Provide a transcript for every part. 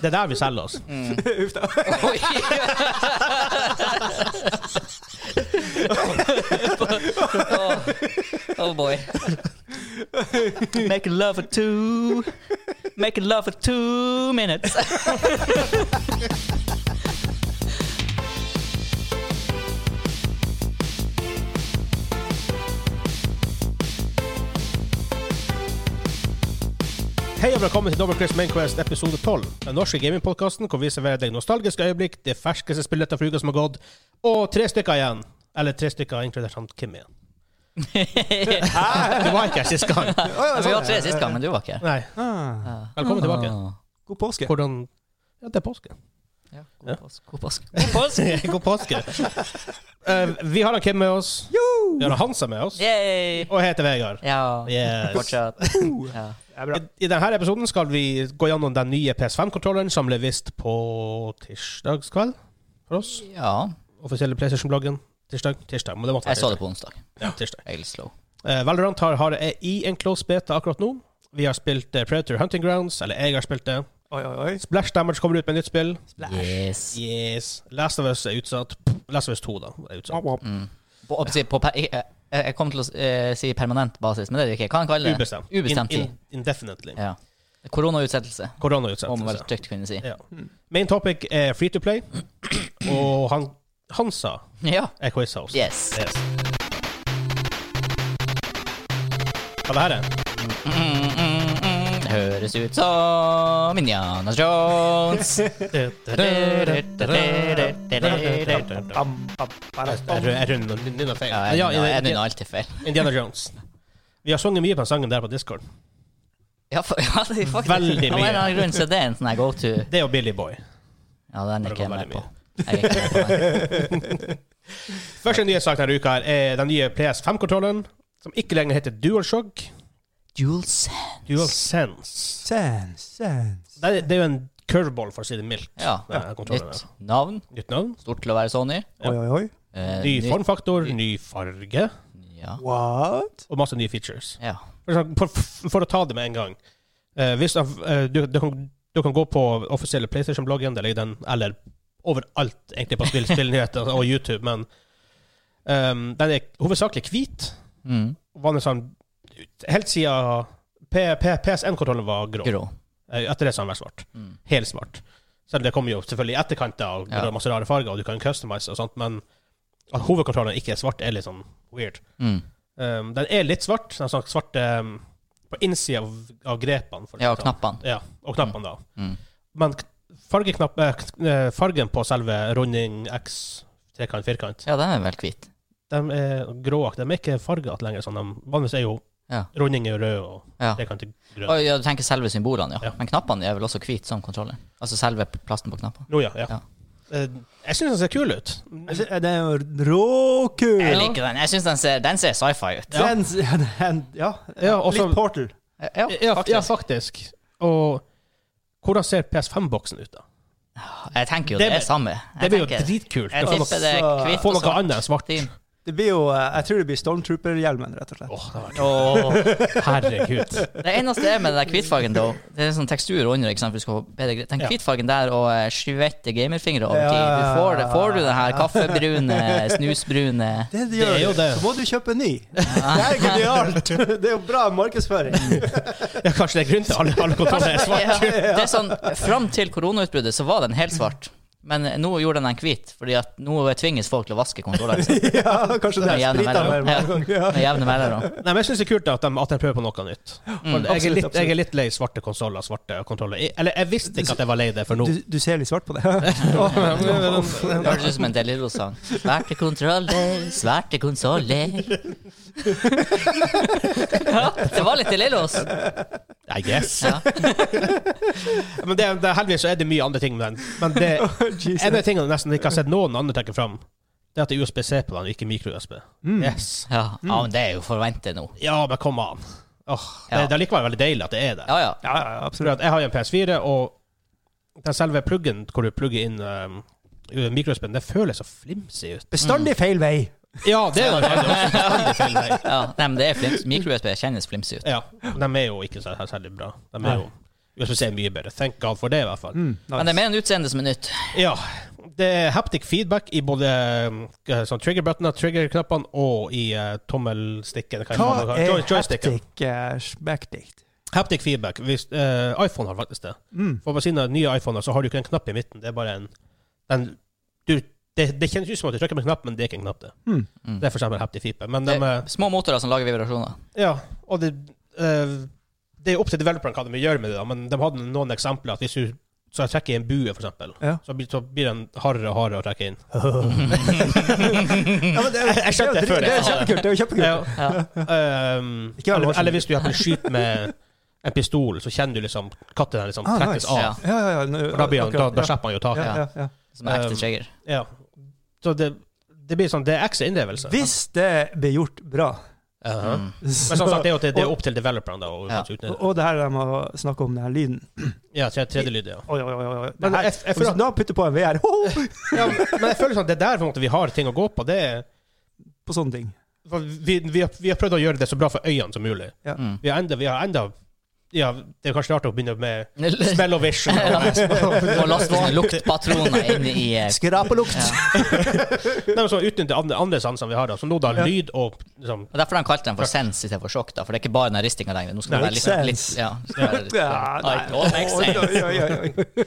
Det er der vi selger oss. Uff da. Oi. oh. oh boy. Making love for two Making love for two minutes. Hei og velkommen til Double Chris Mainquest episode 12. Den norske gamingpodkasten hvor vi serverer deg nostalgiske øyeblikk, det ferskeste spilletter for uka som har gått, og tre stykker igjen. Eller tre stykker inkludert han Kim igjen. Du var ikke her sist gang. Å, ja, Vi var tre sånn. sist gang, men du var ikke her. Nei. Ah, Ja. Velkommen tilbake. Ah. God påske. Hvordan Ja, det er påske. Ja, god Ja. påske. God påske. God påske. Eh, vi har han Kim med oss. Vi har han Hansa med oss. Yay. Og jeg heter Vegard. Ja. Yes. Fortsatt. Uh, Ja. det er bra. I, I denne episoden skal vi gå gjennom den nye PS5-kontrolleren som ble vist på tirsdagskveld for oss. ja. Offisielle PlayStation-bloggen. Tirsdag. Tirsdag. Men det måtte være Jeg så det på onsdag. tirsdag. Ja, tirsdag. Jeg er litt slow. Eh, Valorant har, har er i en close beta akkurat nå. Vi har spilt eh, Predator Hunting Grounds, eller jeg har spilt det. Oi, oi, oi. Splash Damage kommer ut med nytt spill. Yes. Yes. Last of Us er utsatt. Last of Us 2, da. Er utsatt. Mm. På, å si- på, per- jeg, jeg- jeg kom til å eh, si permanent basis, men det er det ikke. Hva kan kalle det? Ubestemt. Ubestemt In, tid. in, indefinitely. Ja. Koronautsettelse, må man vel Koronautsettelse. trygt kunne si. Ja. Main topic er free to play, og han, Hansa Ja. er quiz-host. Yes. Yes. Hva det her er? Mm, mm, mm. Høres ut som Indiana Jones. Jeg Bam, bam, bam, tror- jeg tror jeg nynner feil. Ja, Ja, jeg nynner- jeg nynner Indiana- alltid feil. Indiana Jones. Vi har sunget mye på den sangen der på Discord. Ja, for, ja, det er faktisk. Veldig Av en mye. eller annen grunn så det er en sånn her go to. Det og Billy Boy. Ja, den er Det ikke jeg var med veldig på. Jeg er ikke med på den. Første nye sak denne uka her er den nye PS5-kontrollen, som ikke lenger heter DualShock. DualSense. DualSense. Sen, sen. Det er, det er jo en curveball, for å si det mildt. Ja. denne kontrollen Nytt her. navn. Nytt navn. Stort til å være Sony. Oi, oi, oi. Eh, Ny nytt- formfaktor, ny farge Ja. What? og masse nye features. ja. For, eksempel- for, for å ta det med en gang eh, hvis, eh, du, du, kan, du kan gå på offisielle PlayStation-bloggen, der ligger den, eller overalt egentlig på spill, spillnyheter og YouTube, men ehm, den er hovedsakelig hvit. Mm. Var den sånn, helt siden P- P- PSN-kontrollen var grå. Grå. Eh, Etter det så har den vært svart. Mm. Helsvart. Selv det kommer jo selvfølgelig i etterkant, da, og Ja. det er masse rare farger, og du kan customize og sånt, men at hovedkontrollen ikke er svart, er litt sånn weird. Mm. Um, den er litt svart. Den er sånn svart um, på innsida av, av grepene. for å si Ja, det og sånn. knappene. Ja, og knappene, da. Mm. Men k- fargeknapp, eh, k- eh, fargen på selve runding, X, trekant, firkant, Ja, den er vel hvit. de er gråaktige. De er ikke fargete lenger. Sånn. De, vanligvis er jo Ja. runding er jo rød, og Ja. trekant er grønn. Å, ja, du tenker selve symbolene, ja. Ja. Men knappene er vel også hvite som kontroller? Altså selve plasten på knappene? Nå, ja. ja. Ja. Eh, jeg syns den ser kul ut. Jeg sy- Den er jo råkul. Jeg liker den. Jeg syns den ser, den ser sci-fi ut. Den s- Ja. den- ja. Ja, også- Litt Portal. Ja, Ja, faktisk. ja, faktisk. Og hvordan ser PS5-boksen ut, da? Jeg tenker jo Det det, blir- er samme. Det Jeg blir jo tenker- dritkult. Jeg Å tipper det er Så- hvitt få og noe svart. annet enn svart. Team. Det blir jo eh, Jeg tror det blir Stormtrooper-hjelmen, rett og slett. Åh, det var- Åh. herregud. Det eneste er med den der hvitfargen, da, det er sånn tekstur under. ikke sant, for du skal få bedre grep. Den Ja. hvitfargen der og eh, svette gamerfingre over Ja. tid. Du får, det- får du den her kaffebrune, snusbrune Det de Det er gjør, jo det. så må du kjøpe en ny. Det er genialt. Det er jo bra markedsføring. Ja, kanskje det er grunnen til alle, alle kontroller er svart. Ja, Det er sånn, Fram til koronautbruddet så var den helt svart. Men eh, nå gjorde den den hvit, fordi at nå tvinges folk til å vaske kontrollene sine Ja, kanskje det med er jevne sprita mer mellomrom. hver gang. Ja, Ja. med jevne mellomrom. Nei, men Jeg syns det er kult at de, at de prøver på noe nytt. For jeg, er absolutt, litt, jeg er litt lei svarte konsoller. Svarte kontroller. Jeg, eller jeg visste ikke at jeg var lei det for nå. Du, du ser litt svart på det. Det Høres ut som en Deliro-sang. Svarte kontroller, svarte konsoller. Ja, det var litt Deliros. I guess. Ja. Men det, det, heldigvis så er det mye andre ting med den. Men det, en av de tingene jeg nesten ikke har sett noen andre trekke fram, det er at det er USB-C på den, og ikke mikro-USB. Yes. Ja, Mm. ja, men det er jo forventet nå. Ja, men kom an. Åh, det, Ja. det er likevel veldig deilig at det er det. Ja, ja. Ja, ja, Fordi absolutt. at jeg har jo en PS4, og den selve pluggen hvor du plugger inn um, mikrospinn, det føles så flimsig ut. Bestandig feil vei. Ja, det er det også bestandig feil vei. ja. Nei, men det er flims. Mikro-USB kjennes flimsig ut. Ja, de er jo ikke så særlig bra. De er jo USBC er mye bedre. Thank God for det, i hvert fall. Mm, nice. Men det er mer en utseende som er nytt. Ja. Det er haptic feedback i både eh, sånn trigger-buttoner, trigger-knappene og i eh, tommelstikken. Hva man kaller- joy- er joysticken. haptic eh, smackdikt? Haptic feedback. Hvis, eh, iPhone har faktisk det. Mm. For på siden av nye iPhoner så har du ikke en knapp i midten. Det er bare en den, du, det, det kjennes ut som at du trykker på en knapp, men det er ikke en knapp. Det Mm. Mm. Det er for eksempel haptic feedback. Men Det de, er små motorer som lager vibrasjoner. eh, ja, og det, eh, det er opp til developeren hva de vil gjøre med det, da. men de hadde noen eksempler. at Hvis du så jeg trekker i en bue, for eksempel, Ja. så, blir, så blir den hardere og hardere å trekke inn. Ja, men det er, Jeg- jeg skjønte det det er jo før drit- Det jeg er sa det. kjempekult. Det er jo kjempekult. Ja. Ja. Ehm, Ikke vær eller, varsom. eller hvis du gjerne skyter med en pistol, så kjenner du liksom katten her liksom Ah, trekkes nice. av. Ja. Ja, ja, ja. nå- Og da, blir han, da, akkurat, da slipper han jo ja, taket. ja, ja, ja. Som er ekte Um, trigger. Ja. Så det, det blir sånn Det er ekte innlevelse. Hvis det blir gjort bra Um, Aha. Mm. Men som sagt, det er jo til- det er opp til developeren da, å Ja. Og utnytte og det her de har snakket om, den her lyden Ja, tre- tredje lyd, ja. Oi, oi, oi, oi. Det Men her, jeg, jeg, hvis føler du at, da putter på en VR ho, ho, ja, men jeg føler sånn at det er der på en måte, vi har ting å gå på. Det er, på sånne ting for vi, vi, har, vi har prøvd å gjøre det så bra for øynene som mulig. Mm. Vi har enda, vi har enda ja, Det er kanskje rart å begynne med Og smell-o-vision. lastevogn luktpatroner inn i eh, Skrapelukt. ja. Nei, men så Utnytte andre, andre sansene vi har, da. Som nå, da. Ja. Lyd og liksom Og Derfor har de kalt den for sens istedenfor sjokk. da, For det er ikke bare den ristinga lenger. Nå skal det være Makes litt, litt, sense. ja, det skal være litt Ja, nei. It all makes Oi, sense. oi, oi, oi, oi.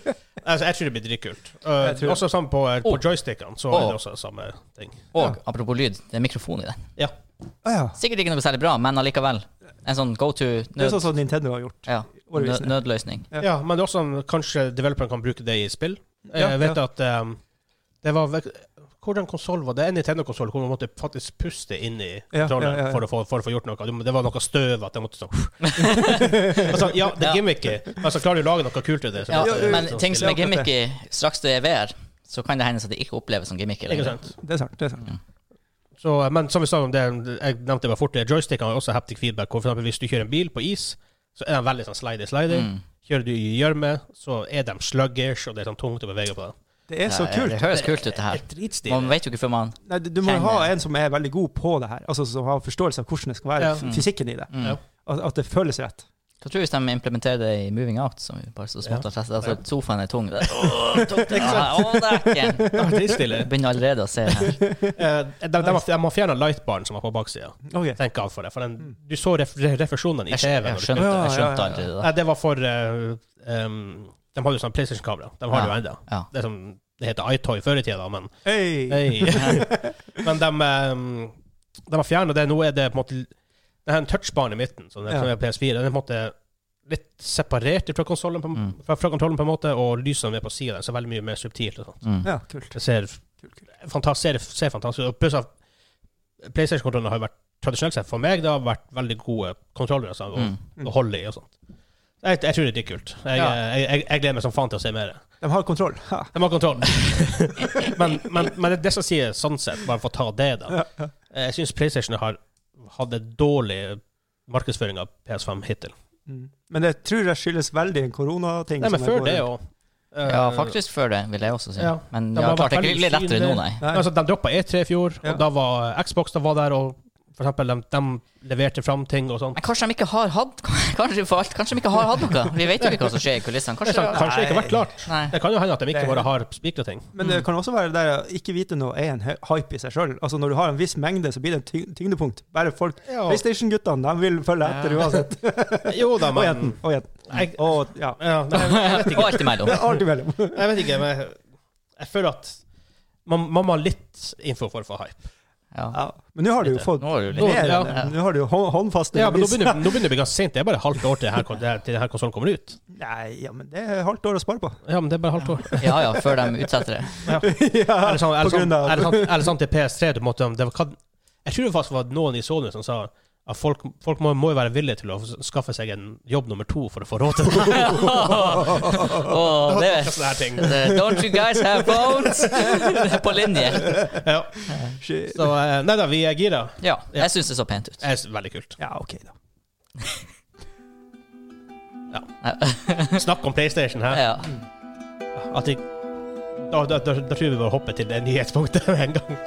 altså, Jeg tror det blir dritkult. Jeg tror Uh, det. også sammen på, eh, på Å. joystickene, så Å. er det også samme ting. Og apropos lyd, det er mikrofon i den. Ja. Å ja. Sikkert ikke noe særlig bra, men allikevel. En sånn go to Det er nød, sånn som Nintendo har gjort. ja, årevis nød, nå. nødløsning. Ja. Ja, men det er også sånn, kanskje developeren kan bruke det i spill. Ja, jeg vet ja. at eh, det var vek- Hvordan konsoll var det? En Nintendo-konsoll hvor man måtte faktisk puste inn i Ja, kontrollen ja, ja, ja. For, å få, for å få gjort noe. Det var noe støv at jeg måtte sånn altså, Ja, det Ja. er gimmicky, men så klarer du å lage noe kult ut av det. så Ja, det er- men så ting som stilig. er gimmicky, straks det er VR, så kan det hende at det ikke oppleves som gimmicky Ikke lenger. sant? Det er sant. det er sant. Så, eh, men som vi sa om det, jeg nevnte bare fort, det, joystickene har også haptic feedback. Hvor for eksempel hvis du kjører en bil på is, så er den veldig sånn slidy-slidy. Mm. Kjører du i gjørme, så er de sluggish, og det er sånn tungt å bevege på. dem. Det er så Ja, kult. Det høres kult ut, det Det her. er dritstilig. Man vet jo ikke før man Nei, du, du må Kjenner- ha en som er veldig god på det her, altså som har forståelse av hvordan det skal være, Ja. f- fysikken i det. mm. Ja. At, at det føles rett. Hva tror du hvis de implementerer det i Moving Out? Som vi bare så smått har testet? Altså, sofaen er tung. Det er- Åh, tungt det er. Åh, det er ekkelt. Ja, dritstilig. Jeg begynner allerede å se her. Eh, de, de, har- de har fjerna lightbaren som var på baksida. Ok. Tenk av for det. For den, du så ref, refleksjonene i Jeg, TV. skjønte, når du- jeg skjønte, jeg skjønte Ja, ja, ja. aldri det. da. Nei, det var for eh, um, De hadde jo sånn PlayStation-kamera. De har det jo ennå. Ja. Det, er sånn- det heter iToy før i tida, da, men Hey. Nei. Men de, ehm, de har fjerna det. Nå er det på en måte Det er en touchbane i midten, som er, Ja. som er PS4. Den er på en måte litt separert fra konsollen, på, Mm. fra, fra kontrollen på en måte, og lysene er på sida. Så veldig mye mer subtilt. og sånt. Mm. Ja, kult. Det ser, Kult, kult. fantas- ser, ser fantastisk ut. Og Pluss at PlayStation-kontrollene har jo vært tradisjonelt sett for meg det har vært veldig gode kontroller altså, å, Mm. å holde i. og sånt. Jeg, jeg tror det er kult. Jeg, Ja. jeg, jeg, jeg gleder meg som faen til å se mer. De har kontroll. Ha. De har kontroll. men, men, men det, det som sier sånn sett, bare for å ta det, da Ja, ja. Jeg syns PlayStation har hadde dårlig markedsføring av PS5 hittil. Mm. Men det tror jeg skyldes veldig en koronating. Nei, men som før går- det Eh, òg. Ja, faktisk før det, vil jeg også si. Ja. Men De ja, har klart det vært er ikke litt veldig lettere nå, nei. Nei. Altså, de droppa E3 i fjor, Ja. og da var Xbox da var der, og for eksempel, de, de leverte fram ting og sånt. Men kanskje de ikke har hatt Kanskje for alt, kanskje de ikke har hatt noe? Vi vet jo ikke hva som skjer i kulissene. Det Kanskje, kan kanskje ikke vært klart. Nei. Det kan jo hende at de ikke Det- bare har spikra ting. Men det kan også være det å ikke vite noe er en hy- hype i seg sjøl. Altså, når du har en viss mengde, så blir det en tyng- tyngdepunkt. Bare folk PlayStation-guttene de vil følge etter Ja. uansett. Jo da, Og men jenten. Og jenten. jeg, Og ja. ja, nei, jeg vet Og ikke. alt imellom. Det er alt imellom. Jeg vet ikke, men jeg føler at man, man må ha litt info for å få hype. Ja. Ja. Men nå har du jo fått Nå er du Nå- litt mer enn ja. det. Nå har du jo hå- håndfaste Ja, men nå bevis. begynner, nå begynner det å bli ganske sent. Det er bare et halvt år til denne konsollen kommer ut. Nei, ja, men det er halvt år å spare på. Ja, men det er bare halvt år. Ja ja, før de utsetter det. ja, Er det sånn, er på det sånn, grunn av er det sånn, er det sånn til PS3 du måtte det var, hva- Jeg tror det faktisk var noen i Sony som sa at folk, folk må, må jo være villige til å skaffe seg en jobb nummer to for å få råd til det. Åh, det Sånne her ting. The Don't you guys have phones? Det er På linje. Ja, Shit. så eh, nei da, vi er gira. Ja, jeg syns det så pent ut. Det er s- veldig kult. Ja, OK, da. Snakk om PlayStation her. Ja. At de, da, da, da, da tror jeg vi bare hopper til det nyhetspunktet med en gang.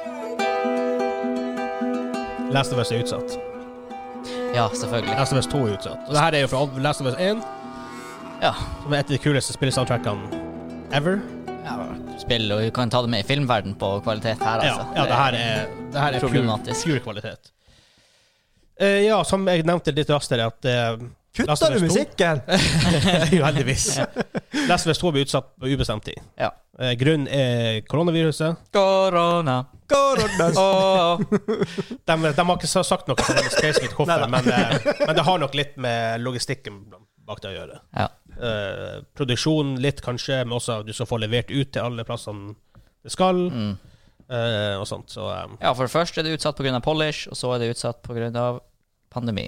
Last of Us er utsatt. ja, selvfølgelig. Last of Us 2 er utsatt. Og det her er jo fra Last of Us 1. Ja. Som er et av de kuleste spillsoundtrackene ever. ja. Spill, og du kan ta det med i filmverden på kvalitet her, altså. Ja, ja, det her er, det her er pure, Problematisk. pure kvalitet. Eh, ja, som jeg nevnte litt raskere, at eh, Last Kutta of Us du 2? musikken?! Eh. Uheldigvis. Last of Us 2 blir utsatt på ubestemt tid. Ja. Eh, grunnen er koronaviruset. Korona. Korona. Åh. De, de har ikke sa- sagt noe som veldig spesifikt hvorfor, men, eh, men det har nok litt med logistikken blant- bak det å gjøre. Ja. Eh, produksjon litt, kanskje, men også at du skal få levert ut til alle plassene det skal, Mm. eh, og sånt. Så eh, ja, for det første er det utsatt pga. polish, og så er det utsatt pga. pandemi.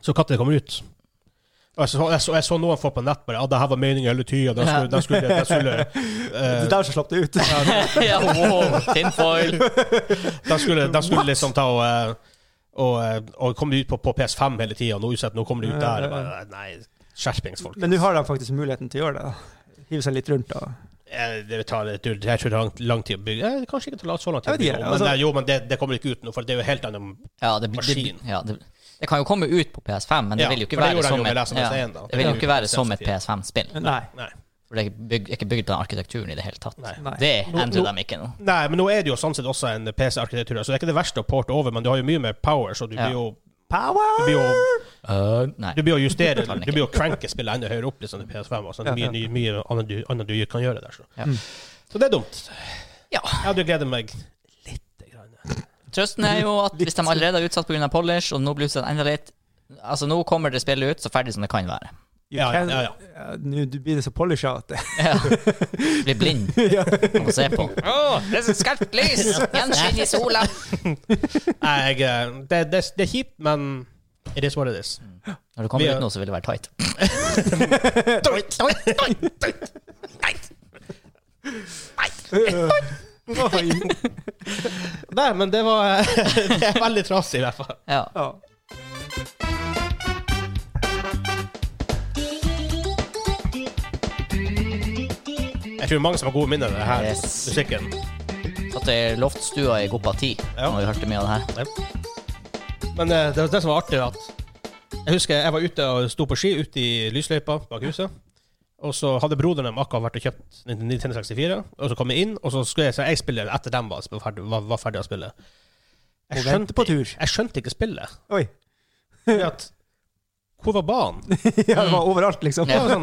Så katter det kommer ut. Og jeg så, jeg, så, jeg så noen folk på nett bare at det her var meningen hele tida. De skulle, de skulle, de skulle, Det er eh, der som slapp det ut. ja, wow, tinfoil. de skulle, de skulle liksom ta og eh, og, eh, og komme ut på, på PS5 hele tida. Nå, utsett, nå kommer det ut der. Jeg bare, Nei, skjerpings, folk. Men nå har de faktisk muligheten til å gjøre det. da. Hive seg litt rundt. da. Eh, Det tar litt- jeg tror det tar lang tid å bygge eh, Kanskje ikke tar så lang tid å Jeg vet bygge ikke, om, men, altså- eh, jo, men det, det kommer ikke ut nå, for det er jo helt annet Ja, det, det, Maskin. ja, det, det kan jo komme ut på PS5, men det Ja, vil jo ikke for det være gjorde han jo som med Last et, of Us ja, 1 da. det vil jo Det ikke er jo være som et sensitivt. PS5-spill. Nei. Nei. For det er ikke bygd, er ikke bygd på den arkitekturen i det hele tatt. Nei. Nei. Det Nå- endrer nå- de ikke nå. Nei, men nå er det jo sånn sett også en PC-arkitektur, så det er ikke det verste å porte over, men du har jo mye mer power, så du Ja. blir jo Power! du blir jo Uh, nei. Du blir å justere kan Du blir å cranke spillet enda høyere opp liksom, til PS5. Og sånn. Ja, Mye, ja. mye, mye annet, du, annet du kan gjøre der. Så. Ja. så det er dumt. Ja. Jeg hadde gledet meg litt. Grann. Trøsten er jo at hvis de allerede er utsatt pga. polish, og nå blir utsatt enda litt Altså, nå kommer det spillet ut så ferdig som det kan være. You Ja, can- ja, ja. Ja, Nå du blir det så polisha at det Ja. Blir blind av å se på. det er så skarpt lys! Gjenskinn i sola. Nei, jeg, eh, det, det, det er kjipt, men it is what it is. Når det Vi kommer er- ut nå, så vil det være tight. Nei, men det var Det er veldig trasig, i hvert fall. Ja. ja. Jeg tror mange som har gode minner av det her Yes. musikken. Satt i loftstua i Goppa 10 Ja. når vi hørte mye av det her. Men eh, det, var det som var artig, var at jeg husker jeg var ute og sto på ski ute i lysløypa bak huset. Og så hadde broderen dem akkurat vært og kjøpt Nintendo 64, og så kom jeg inn, og så skulle jeg, så jeg spille etter dem var, sp- ferdig, var, var ferdig å spille. Jeg Og vente på tur. jeg skjønte ikke spillet. Oi. Fordi at Hvor var banen? Ja, det var overalt, liksom. Det var Sånn,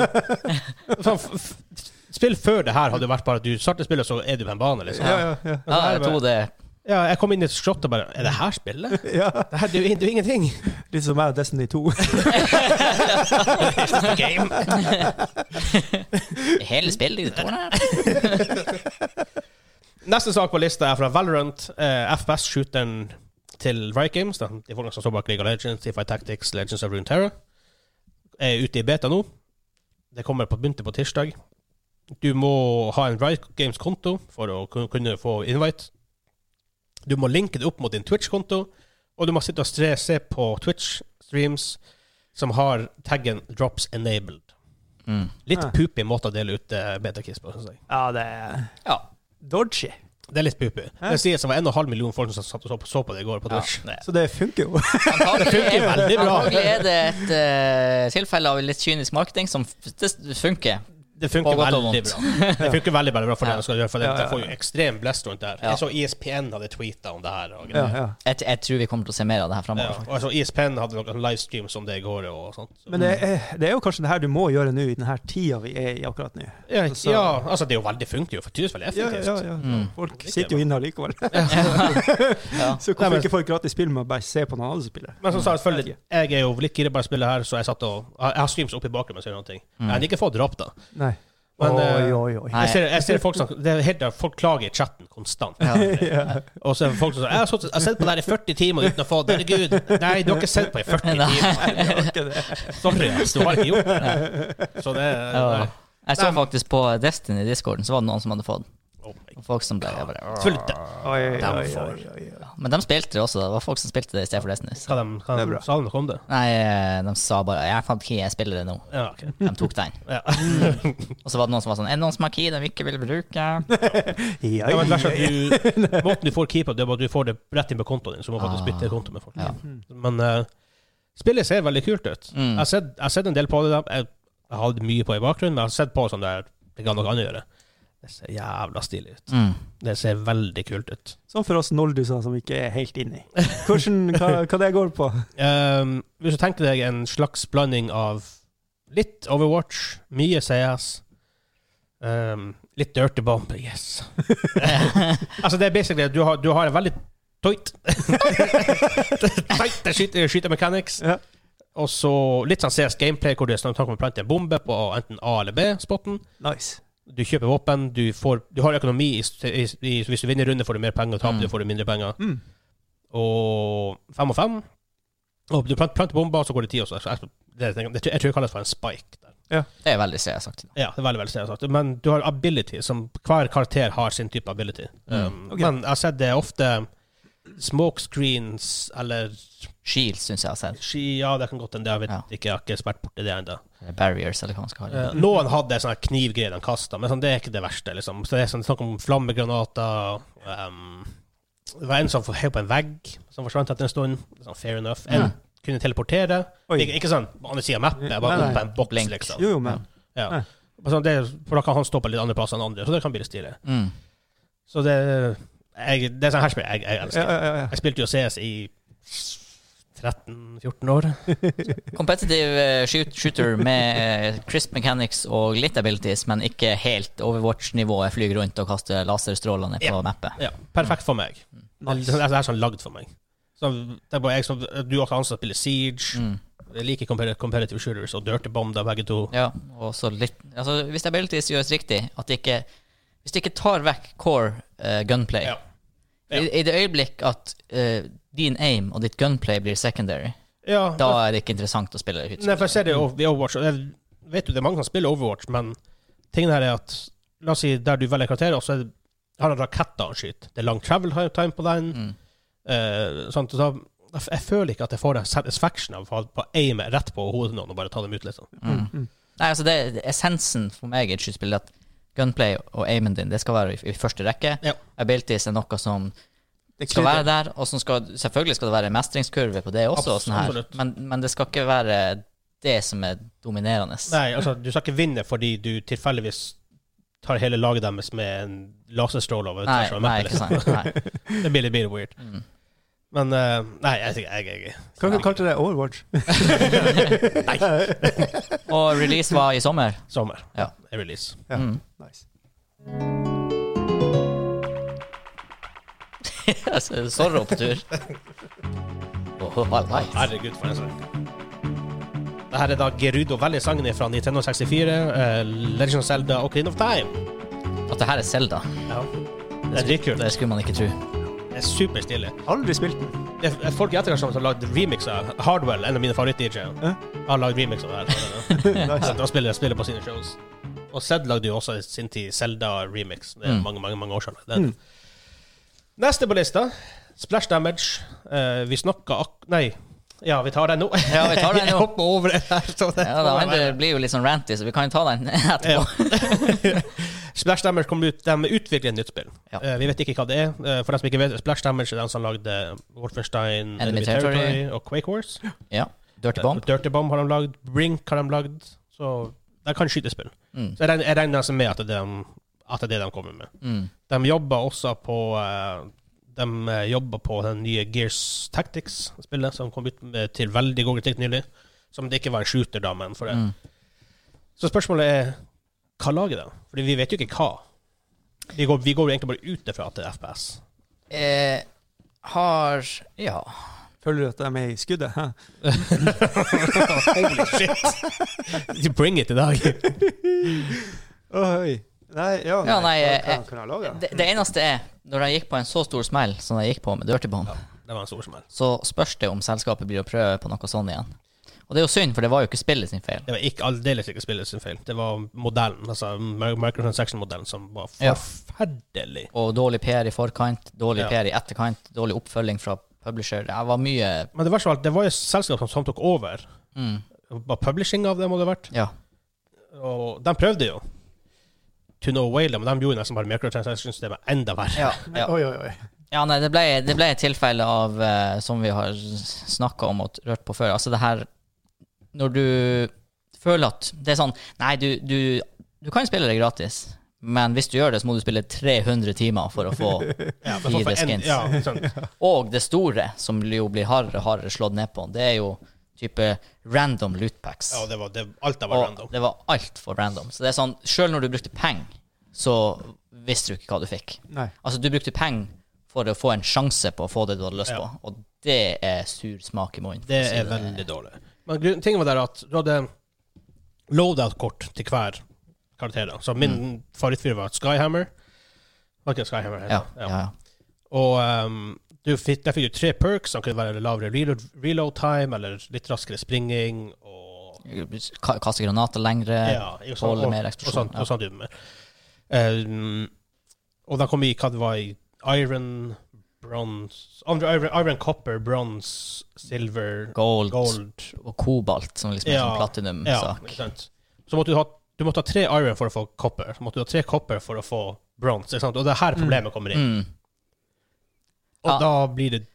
sånn, f- f- spill før det her hadde vært bare at du starter spillet, så er du på en bane, liksom. Ja, ja, ja. Ja, jeg tror det Ja, jeg kom inn i et shot og bare Er det her spillet? ja. Det her det er jo in- det er jo ingenting. Litt som meg og Destiny 2. Game. Hele spillet i det tårnet her. Neste sak på lista er fra Valorant, eh, FPS-shooteren til Riot Games. Da. De folkene som står bak League of Legends, T5 Tactics, Legends of Runeterra. Er ute i beta nå. Det kommer på begynte på tirsdag. Du må ha en Riot Games-konto for å kun- kunne få invite. Du må linke det opp mot din Twitch-konto, og du må sitte og se, se på Twitch-streams som har taggen 'drops enabled'. Mm. Litt Ja. poopy måte å dele ut eh, beta-kiss på, syns jeg. Ja, det er Ja. dodgy. Det er litt pupi. Det sies det var 1,5 million folk som satt og så på, så på det i går på Twitch. Ja. Så det funker jo. Antagelig funker er- veldig bra. Antagelig er det et eh, tilfelle av litt kynisk marketing som f- det funker. Det På funker godt og veldig vondt. bra. Det funker veldig, veldig bra for det de skal gjøre, for det, Ja, ja, det får jo ekstrem blest rundt det her. Ja. Jeg så E ISPN hadde tweeta om det her. Og, Ja, greier. ja. Jeg, jeg tror vi kommer til å se mer av det her Ja, framover. og jeg så E ISPN hadde noen livestreams om det i går og sånt. Så. Men det er, det er jo kanskje det her du må gjøre nå, i denne tida vi er i akkurat nå. ja, så- ja, altså det er jo veldig funker jo, for tydeligvis veldig Ja, effektivt. ja, ja. Folk sitter jo inne allikevel. Ja. Så Nei, hvorfor men- ikke få et gratis spill med å bare se på noen andre spille? Men som sagt, selvfølgelig, jeg er jo litt gira på å spille her, så jeg satt og Jeg har streams oppe i bakgrunnen mens jeg gjør noe. Mm. Jeg har ikke fått drap, da. Nei. Men, oi, eh, oi, oi. Nei. Jeg ser, jeg ser folk som Det er helt klart, folk klager i chatten konstant. Og så er det folk som sier 'Jeg har sittet- jeg har sett på det her i 40 timer uten å få det'. Herregud. Nei, du har ikke sett på i 40 timer. Det var ikke det. Sorry, ass, du har ikke gjort det. Så det er Ja. nei. Jeg så faktisk på Destiny-discorden, så var det noen som hadde fått. Oh my Og folk som ble jeg bare, Tulte. Oi, oi, Damn oi, for. oi, oi, oi. «Åh». Men de spilte det også. Det var folk som spilte det i stedet for Destiny. Så. Skal de, kan Det er de bra. sa de noe om det? Nei, eh, de sa bare 'Jeg fant key, jeg spiller det nå'. Ja, ok. De tok den. Ja. Og så var det noen som var sånn 'Er det noen som har key de ikke vil bruke?' Ja, Ja, men ja, verst at du, måten du får keep up, det er bare at du får det rett inn på kontoen din, så du må faktisk Ah. bytte konto med folk. Ja. Men eh, spillet ser veldig kult ut. Mm. Jeg har sett, jeg har sett en del på det. da. Jeg, jeg har hatt mye på i bakgrunnen, men jeg har sett på som det er det kan noe annet gjøre. Det ser jævla stilig ut. Mm. Det ser veldig kult ut. Sånn for oss nolduser som ikke er helt inni. Hvordan, hva, hva det går på? Ehm, hvis du tenker deg en slags blanding av litt Overwatch, mye CS, ehm, litt Dirty Bomb Yes. altså, det er basically at du har, du har en veldig tight Tight skyte- skytemechanics. Ja. Og så litt sånn CS gameplay, hvor du er snakk om å plante en bombe på enten A eller B-spotten. Nice. Du kjøper våpen, du, får, du har økonomi i, st- i, i Hvis du vinner runde, får du mer penger, taper Mm. du, får du mindre penger Mm. og fem og fem. Og du plant- planter bomber, så går det ti år. så- så Jeg, det, det, jeg tror det kalles for en spike. Der. Det er veldig seriøst. Ja, det er veldig, veldig seriøst sagt. Men du har ability, som hver karakter har sin type ability. Mm. Um, Ok. Men jeg har sett det er ofte smokescreens eller Shield syns jeg har sett. ski Ja, det kan godt hende, jeg vet Ja. ikke, jeg har ikke vært borti det ennå. Eller Barriers, eller hva man skal kalle det. Eh, noen hadde sånne knivgreier de kasta, men sånn, det er ikke det verste. Liksom. Så det er sånn, snakk om flammegranater ehm, Det var en som heiv på en vegg, som forsvant etter en stund. Sånn, fair enough. En Mm. kunne teleportere. Oi. Ikke, ikke sånn på andre sida av mappet, bare Nei, nei. opp på en boks, Blink. liksom. Jo, jo, men Ja. Og Sånn, det, for da kan han stå på litt andre plasser enn andre, så det kan bli litt stilig. Mm. Så det, jeg, det er sånn her spill jeg, jeg ja, elsker. ja, ja, ja. Jeg spilte jo CS i 13-14 år. Competitive eh, shoot, shooter med eh, crisp mechanics og litt abilities, men ikke helt Overwatch-nivået. Flyr rundt og kaster laserstråler ned på Ja. mappet. Ja, perfekt for meg. Nice. Det er- det er sånn lagd for meg. Så det er bare jeg som, Du har ansatt å spille Siege. Mm. Jeg liker compar- comparative shooters og dirty bomb der, begge to. Ja, og så litt altså, Hvis abilities gjøres riktig, at det ikke Hvis det ikke tar vekk core eh, gunplay Ja. Ja. I, I det øyeblikk at eh, din aim og ditt gunplay blir secondary, Ja, da er det ikke interessant å spille Nei, Mm. for jeg utspill. ser det jo i Overwatch, og jeg vet jo det er mange som spiller Overwatch, men tingen her er at La oss si der du velger karakterer, og så er det, har han raketter han skyter. Det er lang travel time på den. Mm. eh, sånt, så jeg, jeg føler ikke at jeg får den satisfaction av å ha- aime rett på hodet noen og bare ta dem ut, liksom. Mm. Mm. Nei, altså det, det- Essensen for meg i et skytespill er at gunplay og aimen din det skal være i, i første rekke. Ja. Abilities er noe som Det skal være der, og som skal, selvfølgelig skal det være en mestringskurve på det også, og sånn her. Absolutt. Men, men det skal ikke være det som er dominerende. Nei, altså, du skal ikke vinne fordi du tilfeldigvis tar hele laget deres med en laserstråle over nei, tvers over nei mappen, ikke liksom. sant. Nei. Det blir litt blir weird. Mm. Men eh, nei, jeg, jeg, jeg, Hva kalte du kalte det? Overwatch? Og release var i sommer. jeg Sommer. Ja. Release. Ja. Mm. Nice. Altså, Zorro på tur. Oh, right. Herregud, for en sang. Det her er da Gerudo Valley-sangen fra Nintendo 64, eh, Legend of Zelda og Queen of Time. At det her er Selda, Ja. Det er dritkult. det skulle man ikke tro. Det er superstilig. Aldri spilt den. Det er folk i etterkant som har lagd remixer. av Hardwell, en av mine favoritt-DJ-er, Ja. har lagd remix av det her. Nice. Så Da spiller jeg spiller på sine shows. Og Zed lagde jo også i sin tid Zelda-remix. Det er Mm. mange, mange, mange år siden. Den. Mm. Neste på lista, Splash Damage. Eh, vi snakka ak... Nei. Ja, vi tar den nå. Ja, vi tar den Jeg nå. hopper over det her. så det Ja, det får andre være. blir jo litt sånn ranty, så vi kan jo ta den etterpå. Ja. Splash Damage kom ut, de utvikler et nytt spill. Ja. Eh, vi vet ikke hva det er. Eh, for dem som ikke vet, Splash Damage er den som lagde Wolfenstein, Enemy Enemy Territory. Territory, og Quake Wars. Ja. Dirty Bomb. Dirty Bomb har de lagd. Brink har de lagd. Så de kan skytespill. Mm. Så jeg regner- jeg regner altså med at det, er de, at det er det de kommer med. Mm. De jobber også på eh, De eh, jobber på den nye Gears Tactics-spillet, som kom ut med, til veldig god kritikk nylig. Som det ikke var en shooter, da, men for det. Mm. Så spørsmålet er hva lager de? Fordi vi vet jo ikke hva. Vi går, vi går jo egentlig bare ut ifra at det er FPS. Eh, har Ja. Føler du at de er med i skuddet? Hæ? Holy shit! You bring it i dag. Oi. Nei, ja, Ja, nei, eh, Hva kan jeg lage? Det, det eneste er, når jeg gikk på en så stor smell som jeg gikk på med Dirty Bomb, Det var en stor smell. så spørs det om selskapet blir å prøve på noe sånn igjen. Og det er jo synd, for det var jo ikke spillet sin feil. Det var ikke aldeles ikke spillet sin feil. Det var modellen, altså mi- microtransaction-modellen, som var Ja. forferdelig. Og dårlig PR i forkant, dårlig Ja. PR i etterkant, dårlig oppfølging fra publisher. Det var mye Men det verste var at det var jo et selskap som, som tok over. mm, Var publishing av det, må det ha vært. Ja. Og de prøvde jo. To No Whale, men de gjorde nesten bare microtransaction-systemet enda verre. Ja, Ja. Oi, oi, oi. nei, det ble, det ble et tilfelle av, eh, som vi har snakka om og rørt på før, altså det her Når du føler at det er sånn Nei, du, du, du kan spille det gratis, men hvis du gjør det, så må du spille 300 timer for å få Ja, men for- fire for en- skins. Ja, sant. Og det store, som jo blir hardere og hardere slått ned på, det er jo type random lootpacks. ja det var, det, alt det var Og random. det var altfor random. Så det er sånn, sjøl når du brukte penger, så visste du ikke hva du fikk. Nei. Altså, du brukte penger for å få en sjanse på å få det du hadde lyst Ja. på, og det er sur smak i munnen. Altså, for Det å si er veldig dårlig. Men grunn- tingen var der at du hadde loadout-kort til hver karakter. da. Så min favorittfyr var Skyhammer. Var ikke Skyhammer eh, Ja, heter det? ja, ja. Og ehm, du fikk, der fikk du tre perks. Han kunne være lavere reload, reload time eller litt raskere springing. og... Ka- Kaste granater lengre. Ja, ikke sant, tåler og- Eh, mer Og eksplosjon, sånn, ja. og sånn du med. Ehm, og da kom vi hva det var i Iron, bronze andre Iron, Iron Copper, bronze, silver, Gold, gold og kobalt, som liksom er Ja, Ja, sånn platinum-sak. ikke sant. Så måtte du ha du måtte ha tre iron for å få copper. Så måtte du ha tre copper for å få bronze. ikke sant? Og det er her problemet kommer inn. mm. Og Ja. da blir det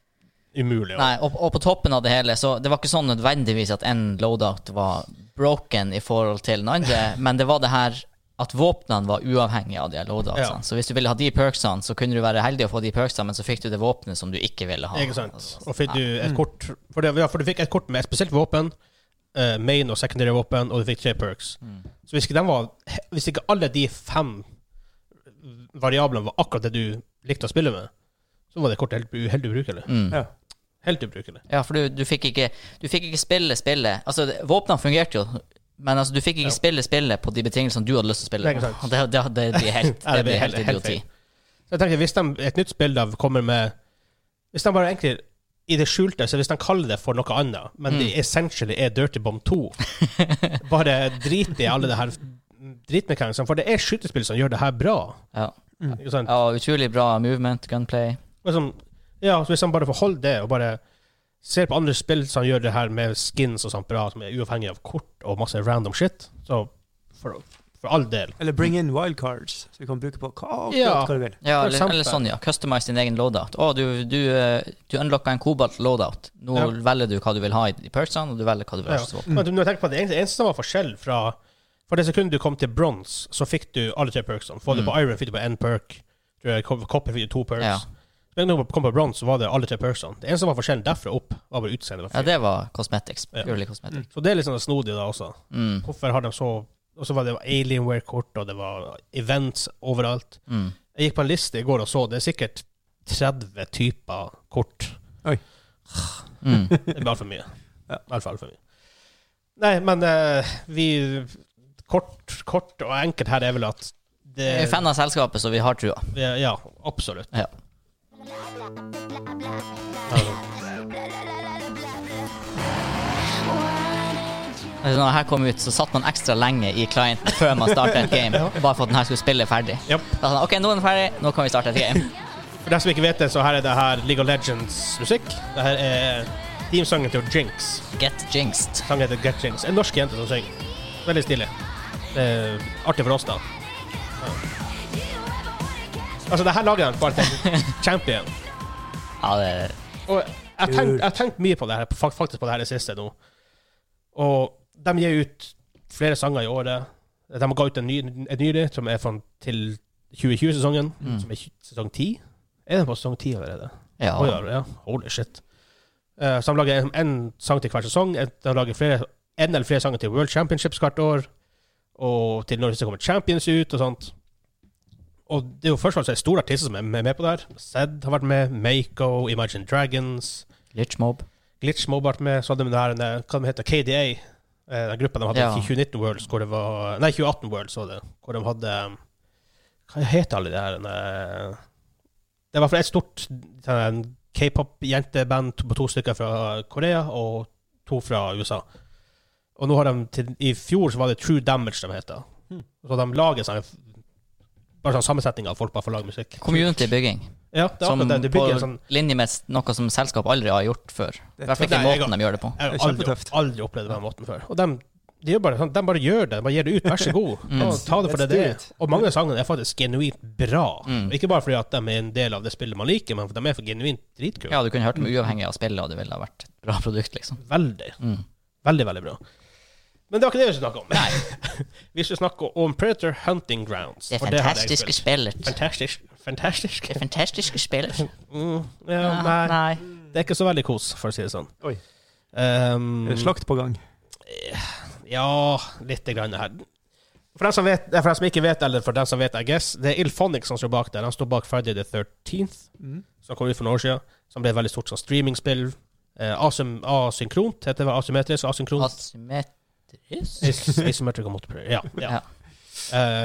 umulig. Nei, og, og på toppen av det hele, så det var ikke sånn nødvendigvis at en loadout var broken i forhold til den andre, men det var det her at våpnene var uavhengige av de her loadoutsene. Ja. Så hvis du ville ha de perksene, så kunne du være heldig å få de perksene, men så fikk du det våpenet som du ikke ville ha. Ikke sant? Altså, Og fikk du nei. et kort for, det, ja, for du fikk et kort med et spesielt våpen, eh, main og secondary våpen, og du fikk tre perks. Mm. Så hvis ikke, den var, hvis ikke alle de fem variablene var akkurat det du likte å spille med, så var det kortet helt, u- helt ubrukelig. Mm. Ja. Helt ubrukelig. Ja, for du, du, fikk ikke, du fikk ikke spille spillet. Altså, det- våpnene fungerte jo, men altså, du fikk ikke Ja. spille spillet på de betingelsene du hadde lyst til å spille Det er på. ikke sant. Det, det, det blir Ja, helt, det det blir blir helt helt- helt idioti. Så jeg tenker, Hvis de, et nytt spill da kommer med Hvis de bare egentlig i det skjulte, så hvis de kaller det for noe annet, men det Mm. essentially er Dirty Bomb 2 Bare drit i alle det her dritmekanismene, for det er skytespill som gjør det her bra. Ja. Ikke sant? ja, utrolig bra movement, gunplay. Og sånn, ja, så Hvis de bare får holde det, og bare ser på andre spill som gjør det her med skins og sånt bra, som er uavhengig av kort og masse random shit, så for, for all del Eller bring in wildcards, så du kan bruke på hva, Ja. hva du vil. Ja, For eller, eksempel. eller sånn, ja. Customize din egen loadout. Å, du, du, eh, du unlocka en Cobalt loadout. Nå Ja. velger du hå du vil ha i de perksene, og du velger hva du vil ha Ja. i våpen. Men du, når jeg tenker på det, det eneste som var forskjell fra For det sekundet du kom til bronse, så fikk du alle tre perksene. Får du på Iron, fikk du på én perk. Tror jeg, Cop- Copper fikk du to perks. Mm. Ja. Men når du kom på bronse, så var det alle tre perksene. Det eneste som var forskjellen derfra opp, var bare utseendet. Ja, det var cosmetics. Ja. Purely cosmetics. Så det er litt sånn snodig, da også. Mm. Hvorfor har de så Og så var det Alienware-kort, og det var events overalt. Mm. Jeg gikk på en liste i går og så, det er sikkert 30 typer kort. Mm. Det blir altfor mye. Ja. Altfor, altfor mye. Nei, men eh, vi kort, kort og enkelt her er vel at det Jeg er fan av selskapet, så vi har trua. vi er- Ja, absolutt. Ja. Altså, når dette kom ut, så satt man ekstra lenge i clienten før man starta et game. Bare for at den her skulle spille ferdig. Ja. Da sa han, ok, nå er den ferdig, nå kan vi starte et game. For deg som ikke vet det, så her er det her League of Legends-musikk. Det her er teamsangen til Jinx. Get jinxed. Sangen heter Get Jinx. En norsk jente som synger. Veldig stilig. Det er artig for oss, da. Ja. Altså, det her lager de bare til champion. Ja, det Og jeg tenk- jeg har tenkt mye på det her, fak- faktisk på det her det siste nå. Og de gir ut flere sanger i året. De ga ut en ny, en nylig, som er fra til 2020-sesongen, som er tj- sesong 10. Er den på sesong 10 allerede? Ja. Oi, ja. Holy shit. Eh, så de lager en, en sang til hver sesong. En- De lager flere, en eller flere sanger til World Championships hvert år. Og til når det kommer Champions ut og sånt. Og det er jo først og fremst store artister som er med, med på det her. Zed har vært med. Mako, Imagine Dragons. Glitch mob. Glitch Mob har vært med. Så hadde de det her, eh, hva de heter, KDA. eh, Den gruppa de hadde Ja. i 2019 Worlds, hvor det var Nei, 2018 Worlds var det. Hvor de hadde eh, Hva heter alle de her eh, Det var fra et stort eh, K-pop-jenteband, to, to stykker fra Korea og to fra USA. Og nå har de til, I fjor så var det True Damage de heter. Så de lager sånne bare sånn sammensetning av folk bare for å lage musikk. Community-bygging. Ja, det er Som akkurat det. Du på bygger en sånn linje med s- noe som selskap aldri har gjort før. I hvert fall ikke Nei, jeg måten de gjør det på. Jeg har Det er aldri, kjempetøft. aldri opplevd det på den måten før. Og de, de, gjør bare, sånn, de bare gjør det. De bare gir det ut. Vær så god. Ta, ta det for det det Let's er. do it. Og mange av sangene er faktisk genuint bra. Ikke bare fordi at de er en del av det spillet man liker, men fordi de er for genuint dritkule. Ja, du kunne hørt dem uavhengig av spillet, og det ville ha vært et bra produkt, liksom. Veldig. Mm. Veldig, veldig bra. Men det var ikke det vi skulle snakke om. Nei, Vi skulle snakke om Predator Hunting Grounds. det er og har jeg fantastiske spilt. spillet. Fantastisk. Fantastisk. Det er fantastiske spillet. Mm, ja, nei, Nei. det er ikke så veldig kos, for å si det sånn. Oi. Um, Er det slakt på gang? Eh, Ja, lite grann her. For dem som, vet, eh, for dem som ikke vet, eller for dem som vet, I guess, det er Ilphonic som står bak der. Han står bak Friday the 13th, Mm. som kom ut for noen år siden. Som ble et veldig stort sånn streamingspill. Eh, asym asynkront, heter det vel? Asymmetrisk? Asynkront? Asymmetrisk? As asymmetrical multiplayer. Ja. ja.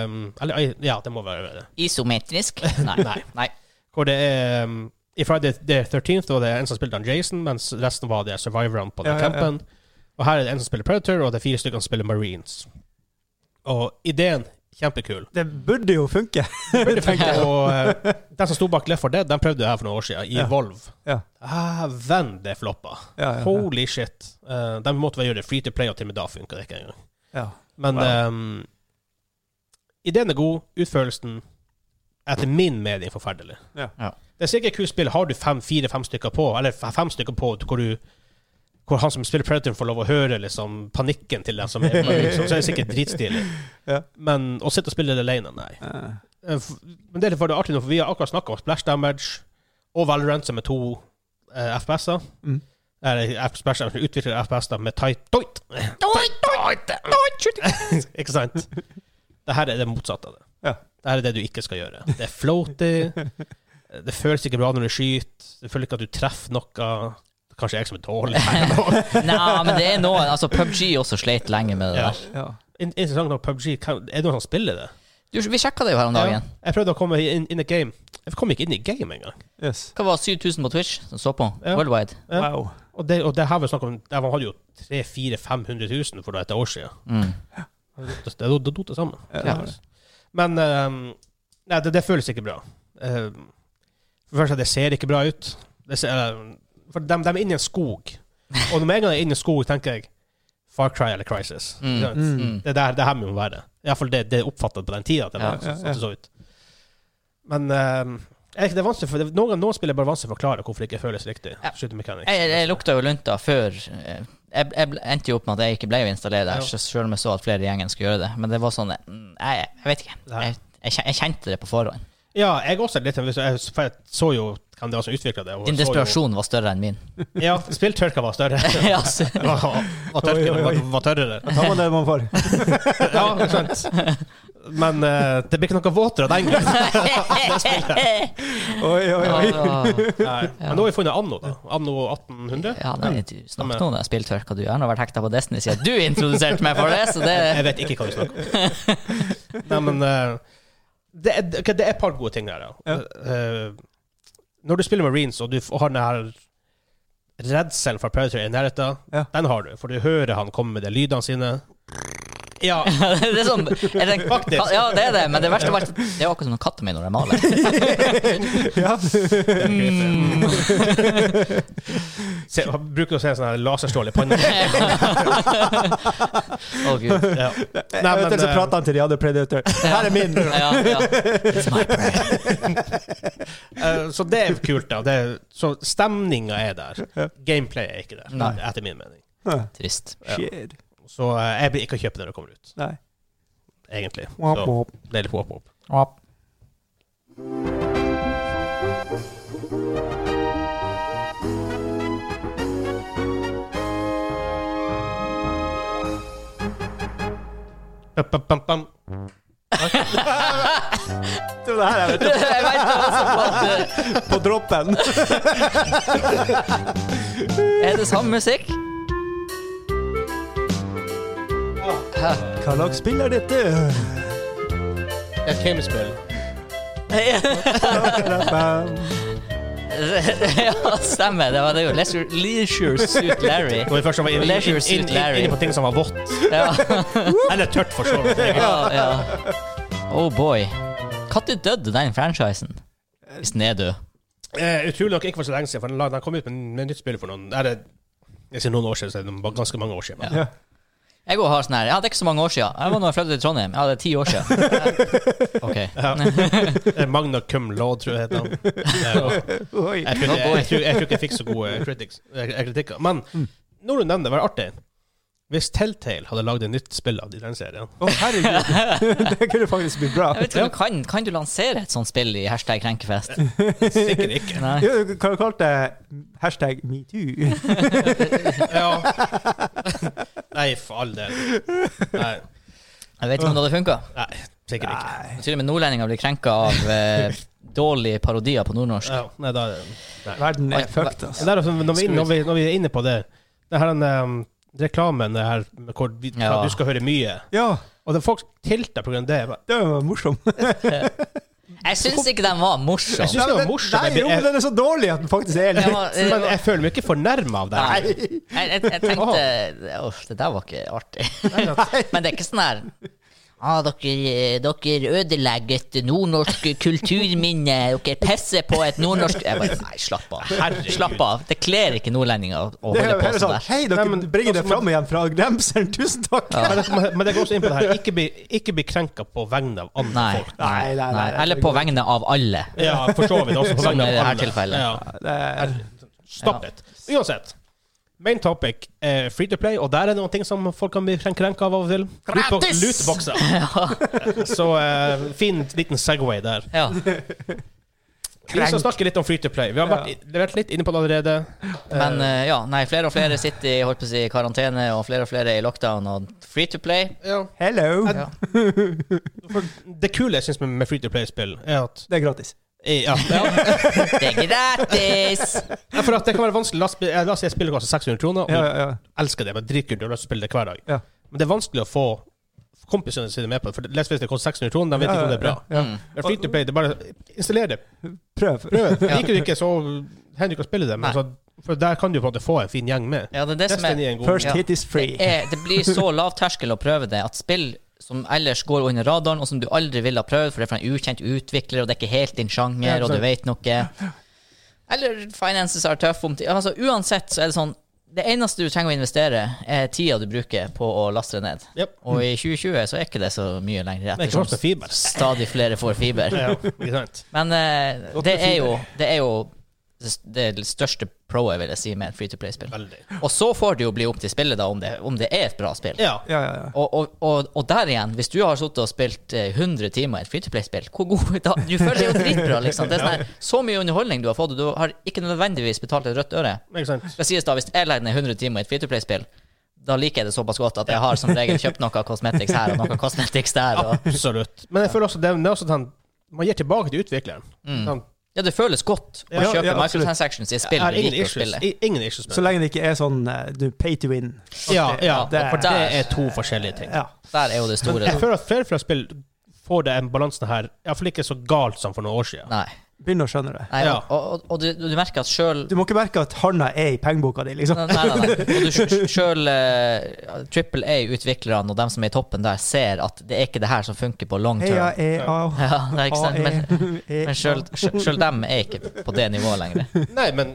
Um, eller, eh, ja, det må være det. Isometrisk? Nei. Nei. Nei. Hvor det er um, I Friday the 13th var det en som spilte han Jason, mens resten var de survivorene på den Ja, ja, ja. campen. Og her er det en som spiller Predator, og det er fire stykker som spiller Marines. Og ideen kjempekul. Det burde jo funke. funke. Og eh, den som sto bak Left 4 Dead, den prøvde det her for noen år siden, i Ja. Volv. Ja. Venn, det floppa. Ja, ja, ja. Holy shit. Eh, de måtte vel gjøre det free to play, og til og med da funka det ikke engang. ja. Men Wow. ehm, ideen er god, utførelsen etter min mening forferdelig. Ja. Ja. Det er sikkert et kult spill. Har du fem, fire-fem stykker på, eller f- fem stykker på hvor du hvor han som spiller Predator får lov å høre liksom, panikken til den som er liksom, Så er det sikkert dritstilig. Ja. Men å sitte og spille det alene, nei. Eh, Eh, f- Men det er for det artig nå, for vi har akkurat snakka om Splash Damage og Valorant, som er to eh, FPS-er. Mm. Eller eh, Splash Damage utvikler FPS-er med tight doit. Ikke sant? Det her er det motsatte av det. Ja. Det her er det du ikke skal gjøre. Det er floaty. Det føles ikke bra når du skyter. Du føler ikke at du treffer noe. Det er kanskje jeg som er dårlig. Nei, men det er noe Altså, PubG også sleit lenge med det Ja. der. ja. In- Interessant nok, PUBG, kan- er det noen som spiller det? Du, vi sjekka det jo her om dagen. Ja. Jeg prøvde å komme inn in the game. Jeg kom ikke inn i game engang. Yes. Hva var det, 7000 på Twitch som så på? Ja. Worldwide. Ja. Wow. Og det, og det her var snakk om De hadde jo 300 500 000 for et år siden. Mm. Det det- det doter sammen. Ja. Ja. Men ehm, Nei, det, det føles ikke bra. Ehm, for det første, det ser ikke bra ut. Det ser, ehm, for de, de er inne i en skog. Og når med en gang de er inne i en skog, tenker jeg Far Cry eller Crisis. Mm. Ikke sant? Mm. Mm. Det er der det her må være. Iallfall det, det er oppfattet på den tida. at Det, var Ja, sånn ja, det så ut. Men ehm, jeg vet ikke, det er vanskelig for, det, noen, noen spiller bare vanskelig å forklare hvorfor det ikke føles riktig. Ja. Shooting mechanics. Jeg, jeg lukta jo lunta før eh, Jeg, jeg ble- endte jo opp med at jeg ikke ble å installere det, Ja. her, selv om jeg så at flere i gjengen skulle gjøre det. Men det var sånn mm, Jeg, jeg vet ikke. Nei. Jeg, jeg, kjen- jeg kjente det på forhånd. Ja, jeg også er litt Jeg for jeg så jo hvem det var som utvikla det. og Din så jo- desperasjon var større enn min. Ja, spilltørka var større. Ja, altså. var, var, tørken, Oi, oi, var, oi. var tørrere. Da tar man det man får. Ja, ikke sant. Men eh, det blir ikke noe våtere av den grunn. Oi, oi, oi. Nei. Men nå har vi funnet anno, da. Anno 1800. Ja, nei, du snakk nå om den spilltørka du gjør. Nå har vært hekta på Destiny siden du introduserte meg for det, så det Jeg vet ikke hva vi snakker om. Nei, men eh, det, er, ok, det er et par gode ting her, ja. Eh, når du spiller Marines, og du f- har den her redselen for Predator i nærheten, Ja. den har du. For du hører han komme med de lydene sine. Ja, Det er sånn er det, Faktisk. Ja, det er det, men det verste var at det er akkurat som når katten min når jeg maler. Ja. Mm. Se, han bruker å se en sånn her laserstråle i panna. Å, gud. Ja. Jeg Nei, vet men, ikke, så eh, prater han til de andre predator. Her er min! Ja, ja. It's my prey. Eh, så det er kult, da. Det er, så stemninga er der. Gameplay er ikke der, Nei. etter min mening. Trist. Shit. Så eh, jeg blir ikke å kjøpe det når det kommer ut, Nei. egentlig. Womp, Så womp. det er litt wop-wop. Bam, bam, bam, bam. Det var det her jeg Jeg vet. vet det også, men, eh, På droppen. Er det samme musikk? Hva slags spill er dette? Det er et gamespill. Ja, stemmer. Det var det jo. Leisure, leisure Suit Larry. Når vi først var inne inn, Leisure inn, Suit inn, inn, Larry. på ting som var vått. Ja, Eller tørt, for så vidt. ja, ja. Oh boy. Når døde den franchisen? Hvis den er død. Eh, utrolig nok ikke for så lenge siden, for den, la- den kom ut med, med nytt spill for noen er det, Jeg sier noen år siden, så er det bare ganske mange år siden. Men. Ja. Jeg går og har sånn her. Ja, det er ikke så mange år siden. Jeg var da jeg flyttet til Trondheim. Ja, det er ti år siden. Ok. Eh, Magna cum law, tror jeg heter den. Eh, Oi. Jeg eh, tror, jeg, jeg, tror, jeg tror ikke jeg fikk så gode critics, eh, kritikker. Men når du nevner det, var det artig. Hvis Telltale hadde lagd et nytt spill av den serien Å, herregud! det kunne faktisk blitt bra. Jeg vet ikke om du kan, kan du lansere et sånt spill i hashtag krenkefest? Sikkert ikke. Nei. Jo, du kan jo kalle det hashtag metoo. Ja. Nei, for all del. Nei, Jeg vet ikke om det hadde funka. nei sikkert ikke. Til og med nordlendinger blir krenka av eh, dårlige parodier på nordnorsk. Ja, nei, da, nei. Verden Oi, er fucked, altså. Det der, altså, når, vi, når, vi, når vi er inne på det Det her um, reklamen det her, med hvor vi, Ja. du skal høre mye Ja, Og det folk tilter på grunn av det. Jeg bare- det var morsomt. Jeg syns ikke den var morsom. Jeg synes det var morsomt. Nei, jo, men den er så dårlig at den faktisk er Den litt var- Men jeg føler meg ikke fornærma av det. Nei. her. Jeg, jeg, jeg tenkte Uff, det der var ikke artig. Men det er ikke sånn her ah, dere, dere ødelegger et nordnorsk kulturminne. Dere pisser på et nordnorsk Jeg bare Nei, slapp av. Herregud. Slapp av. Det kler ikke nordlendinger å Det holde er jo på heller sånn sånn der. Hei, dere Nei, men- bringer det fram igjen fra glemselen. Tusen takk! Men, det, men- men det går også inn på det her. Ikke bli, ikke bli krenka på vegne av andre Nei, folk. nei, Nei, nei, nei. nei, nei. Eller på vegne av alle. Ja, for så vidt. Også på Som vegne i av det her alle. tilfellet. Ja. Det er, Stopp Ja. it. Uansett. Main topic er free to play, og der er noen ting som folk kan bli krenk- krenka av av og til. Lootbox- Gratis! Lootboxer. Så eh, fin liten Segway der. Ja. Vi skal snakke litt om free to play. Vi har vært, vi har vært litt inne på det allerede. Men eh, ja, nei, flere og flere sitter i holdt på å si, karantene, og flere og flere er i lockdown og free to play. Ja. hello! Ja. Det kule jeg syns med, med free to play-spill, er at Det er gratis. ja, ja. Det er gratis! Ja, For at det kan være vanskelig La oss spi- eh, la oss si jeg spiller koster 600 kroner, og Ja, ja, ja. du elsker det, men dritkult, du har lyst til å spille det hver dag. Ja. Men det er vanskelig å få kompisene sine med på det, for les hvis det koster 600 kroner, de vet Ja, ikke om det er bra. Ja, Mm. ja. Men free to play, det er bare installer det, Prøv. prøv. Ja. Liker du ikke, så hender du ikke å spille det, men Nei. så, for der kan du på en måte få en fin gjeng med. Ja, det er det som er Destiny er en god First Ja. hit is free. det, er, det blir så lav terskel å prøve det at spill som ellers går under radaren, og som du aldri ville ha prøvd, for det er fra en ukjent utvikler, og det er ikke helt din Ja, sjanger, ikke og du sant. vet noe Eller finances are tough om ti- Altså, uansett så er det sånn Det eneste du trenger å investere, er tida du bruker på å laste det ned. Yep. Og i 2020 så er ikke det så mye lenger Det er ikke ettersom koster fiber. stadig flere får fiber. Ja, ikke sant. Men eh, Godt det, med er jo, fiber. det er jo det største proet, vil jeg si, med et free to play-spill. Veldig. Og så får det jo bli opp til spillet, da, om det, om det er et bra spill. Ja. Ja, ja, ja. Og, og, og, og der igjen, hvis du har sittet og spilt eh, 100 timer i et free-to-play-spill, hvor god da, Du føler deg jo dritbra, liksom. Det er sånn her, så mye underholdning du har fått, og du har ikke nødvendigvis betalt et rødt øre. Ikke sant. Skal sies da, hvis jeg legger ned 100 timer i et free-to-play-spill, da liker jeg det såpass godt at jeg har som regel kjøpt noe cosmetics her og noe cosmetics der. Og, Absolutt. Men jeg føler også det, det er også at han, man gir tilbake til utvikleren. Sånn, mm. ja, det føles godt å Ja, kjøpe ja, absolutt. microtransactions i et spill er du ingen liker å issues, spille. i- ingen issues med Så det. lenge det ikke er sånn eh, du pay to win. Ja, ja, det- for det er to forskjellige ting. Ja. Der er jo det store. Jeg Da. føler at flere og flere spill får det en balansen her, iallfall ikke så galt som for noen år siden. Nei. Begynner å skjønne det. Nei Ja. og, og, og du, du merker at sjøl Du må ikke merke at handa er i pengeboka di, liksom. Nei, nei, nei. Og du, sj- selv eh, Triple A-utviklerne og dem som er i toppen der, ser at det er ikke det her som funker på long Heia E term. EA. Ja, det er ikke E, sant? Men, AE. men selv, sj- selv dem er ikke på det nivået lenger. Nei, men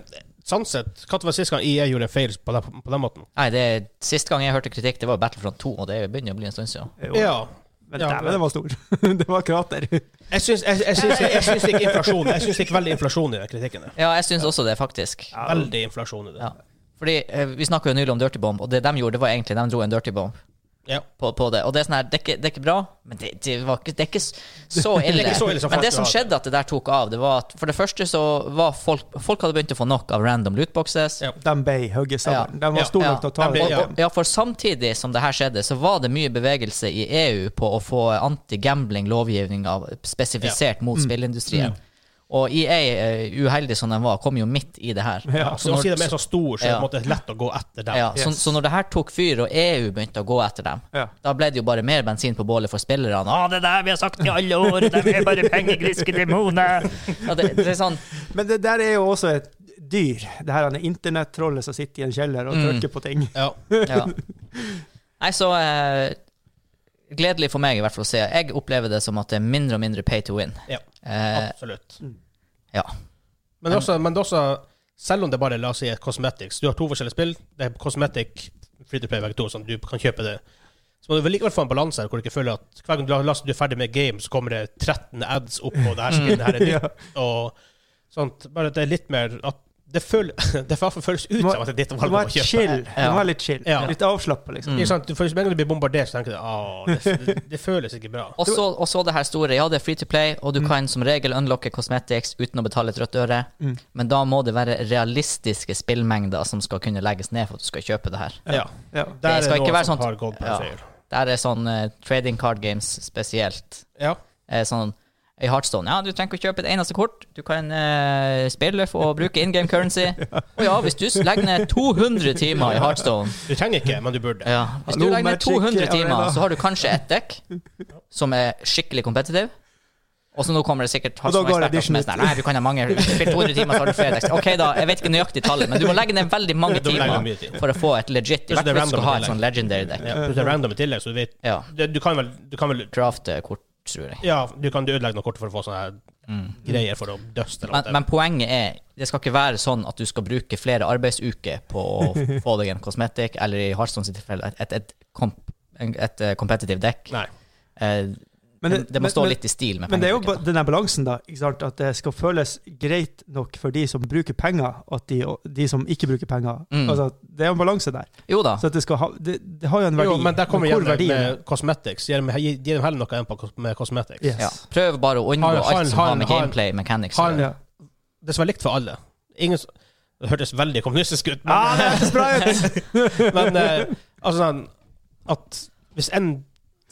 sånn sett, hva var sist gang EA gjorde en feil på den, på den måten? Nei, det er, Sist gang jeg hørte kritikk, det var jo Battlefront 2, og det begynner å bli en stund siden. Jo, Ja. Men Ja. dæven, den var stor. Det var krater. Jeg syns, jeg, jeg syns, jeg syns ikke inflasjon Jeg syns ikke veldig inflasjon i den kritikken. der. Ja, jeg syns også det, faktisk. Veldig inflasjon i det. Ja. Fordi eh, Vi snakka jo nylig om Dirty Bomb, og det de gjorde, det var egentlig de dro en Dirty Bomb Ja. på, på det. Og det er sånn her, det er ikke, det er ikke bra, men det, det, var ikke, det er ikke s- så ille. ikke så ille som men det folk som har det. skjedde at det der tok av, det var at for det første så var folk Folk hadde begynt å få nok av random lootboxes. Ja. De ble hugget sammen. Ja. De var store Ja. nok til å ta De ble- det. Og, og, ja, for samtidig som det her skjedde, så var det mye bevegelse i EU på å få anti-gambling-lovgivninga spesifisert mot Mm. spillindustrien. Og EA, eh, uheldig som de var, kom jo midt i det her. Ja, Så å si de er så store, så er det Ja. på en måte lett å gå etter dem. Ja, så, Yes. så når det her tok fyr, og EU begynte å gå etter dem, Ja. da ble det jo bare mer bensin på bålet for spillerne. Ah, Ja, det der vi har sagt i alle år, det er bare pengegriske demoner. ja, det, det er sånn Men det der er jo også et dyr. Det her er internettrollet som sitter i en kjeller og trykker på ting. Ja. Ja. Nei, så eh, Gledelig for meg i hvert fall å se. Jeg opplever det som at det er mindre og mindre pay to win. Ja. Eh, Absolutt. ja. Men det er også, men det er også selv om det bare la oss si er cosmetics Du har to forskjellige spill. Det er cosmetic free to play begge to, sånn du kan kjøpe det. Så må du vel likevel få en balanse her, hvor du ikke føler at hver gang du la- la oss si du er ferdig med game, så kommer det 13 ads opp, og det her skinnet her er nytt, og sånt. Bare at det er litt mer at Det, føl, det får føles ut Må- som at det er ditt Du valg må å være kjøpe. chill. Du Ja. må være litt chill. Ja. Litt avslappa, liksom. Mm. Ikke sant? Du får- Med en gang du blir bombardert, så tenker du at det, det, det føles ikke bra. Og så, og så det her store. Ja, det er free to play, Mm. og du kan som regel unlocke cosmetics uten å betale et rødt øre, Mm. men da må det være realistiske spillmengder som skal kunne legges ned for at du skal kjøpe det her. Ja. Ja. Der Det er skal noen ikke være som sånn- har gått på Ja. en seier. Der er sånn eh, trading card games spesielt. Ja. Eh, sånn i Heartstone. Ja, du trenger ikke å kjøpe et eneste kort. Du kan eh, spille for å bruke in game currency. Og ja, hvis du legger ned 200 timer i Heartstone Du trenger ikke, men du burde. Ja. Hvis du Hallo, legger ned Magic 200 timer, Arena. så har du kanskje et dekk som er skikkelig competitive. Og så nå kommer det sikkert Og da går Hearthstone-eksperter som er edition sånn Nei, du kan ha mange. Spill 200 timer, så har du flere dekk. Ok, da. Jeg vet ikke nøyaktig tallet, men du må legge ned veldig mange Du må legge ned timer mye tid. for å få et legit I Pluss hvert det fall er hvis du random skal ha et i sånn legendary dekk. Ja, det er random i tillegg, så du vet Ja. det, Du kan vel, du kan vel Draft-kort, eh, tror jeg. Ja, du kan ødelegge noe kort for å få sånne her Mm. greier for å døste eller Men, noe. men poenget er det skal ikke være sånn at du skal bruke flere arbeidsuker på å få deg en kosmetikk, eller i Hearthstone sitt tilfelle et, et, et, komp, en- et eh, competitive dekk. Nei. Eh, Men det, må stå men- litt i stil med Men det er jo ba- pengebruken, da. den der balansen, da. Ikke sant? At det skal føles greit nok for de som bruker penger, og at de, og de som ikke bruker penger. Mm. Altså, det er jo en balanse der. Jo da. Så at det, skal ha, det, det har jo en verdi. Jo, men der kommer hvor igjen det verdien er. med cosmetics. Gi dem, gi dem heller noe enn på kos- med cosmetics. Yes. Ja. Prøv bare å unngå Har- har en- alt som har har en- med har en- gameplay, mechanics har en- å gjøre. Ja. Det skal være likt for alle. Ingen, s- det hørtes veldig kommunistisk ut, men, Ah, det hørtes bra ut! men eh, altså sånn at hvis en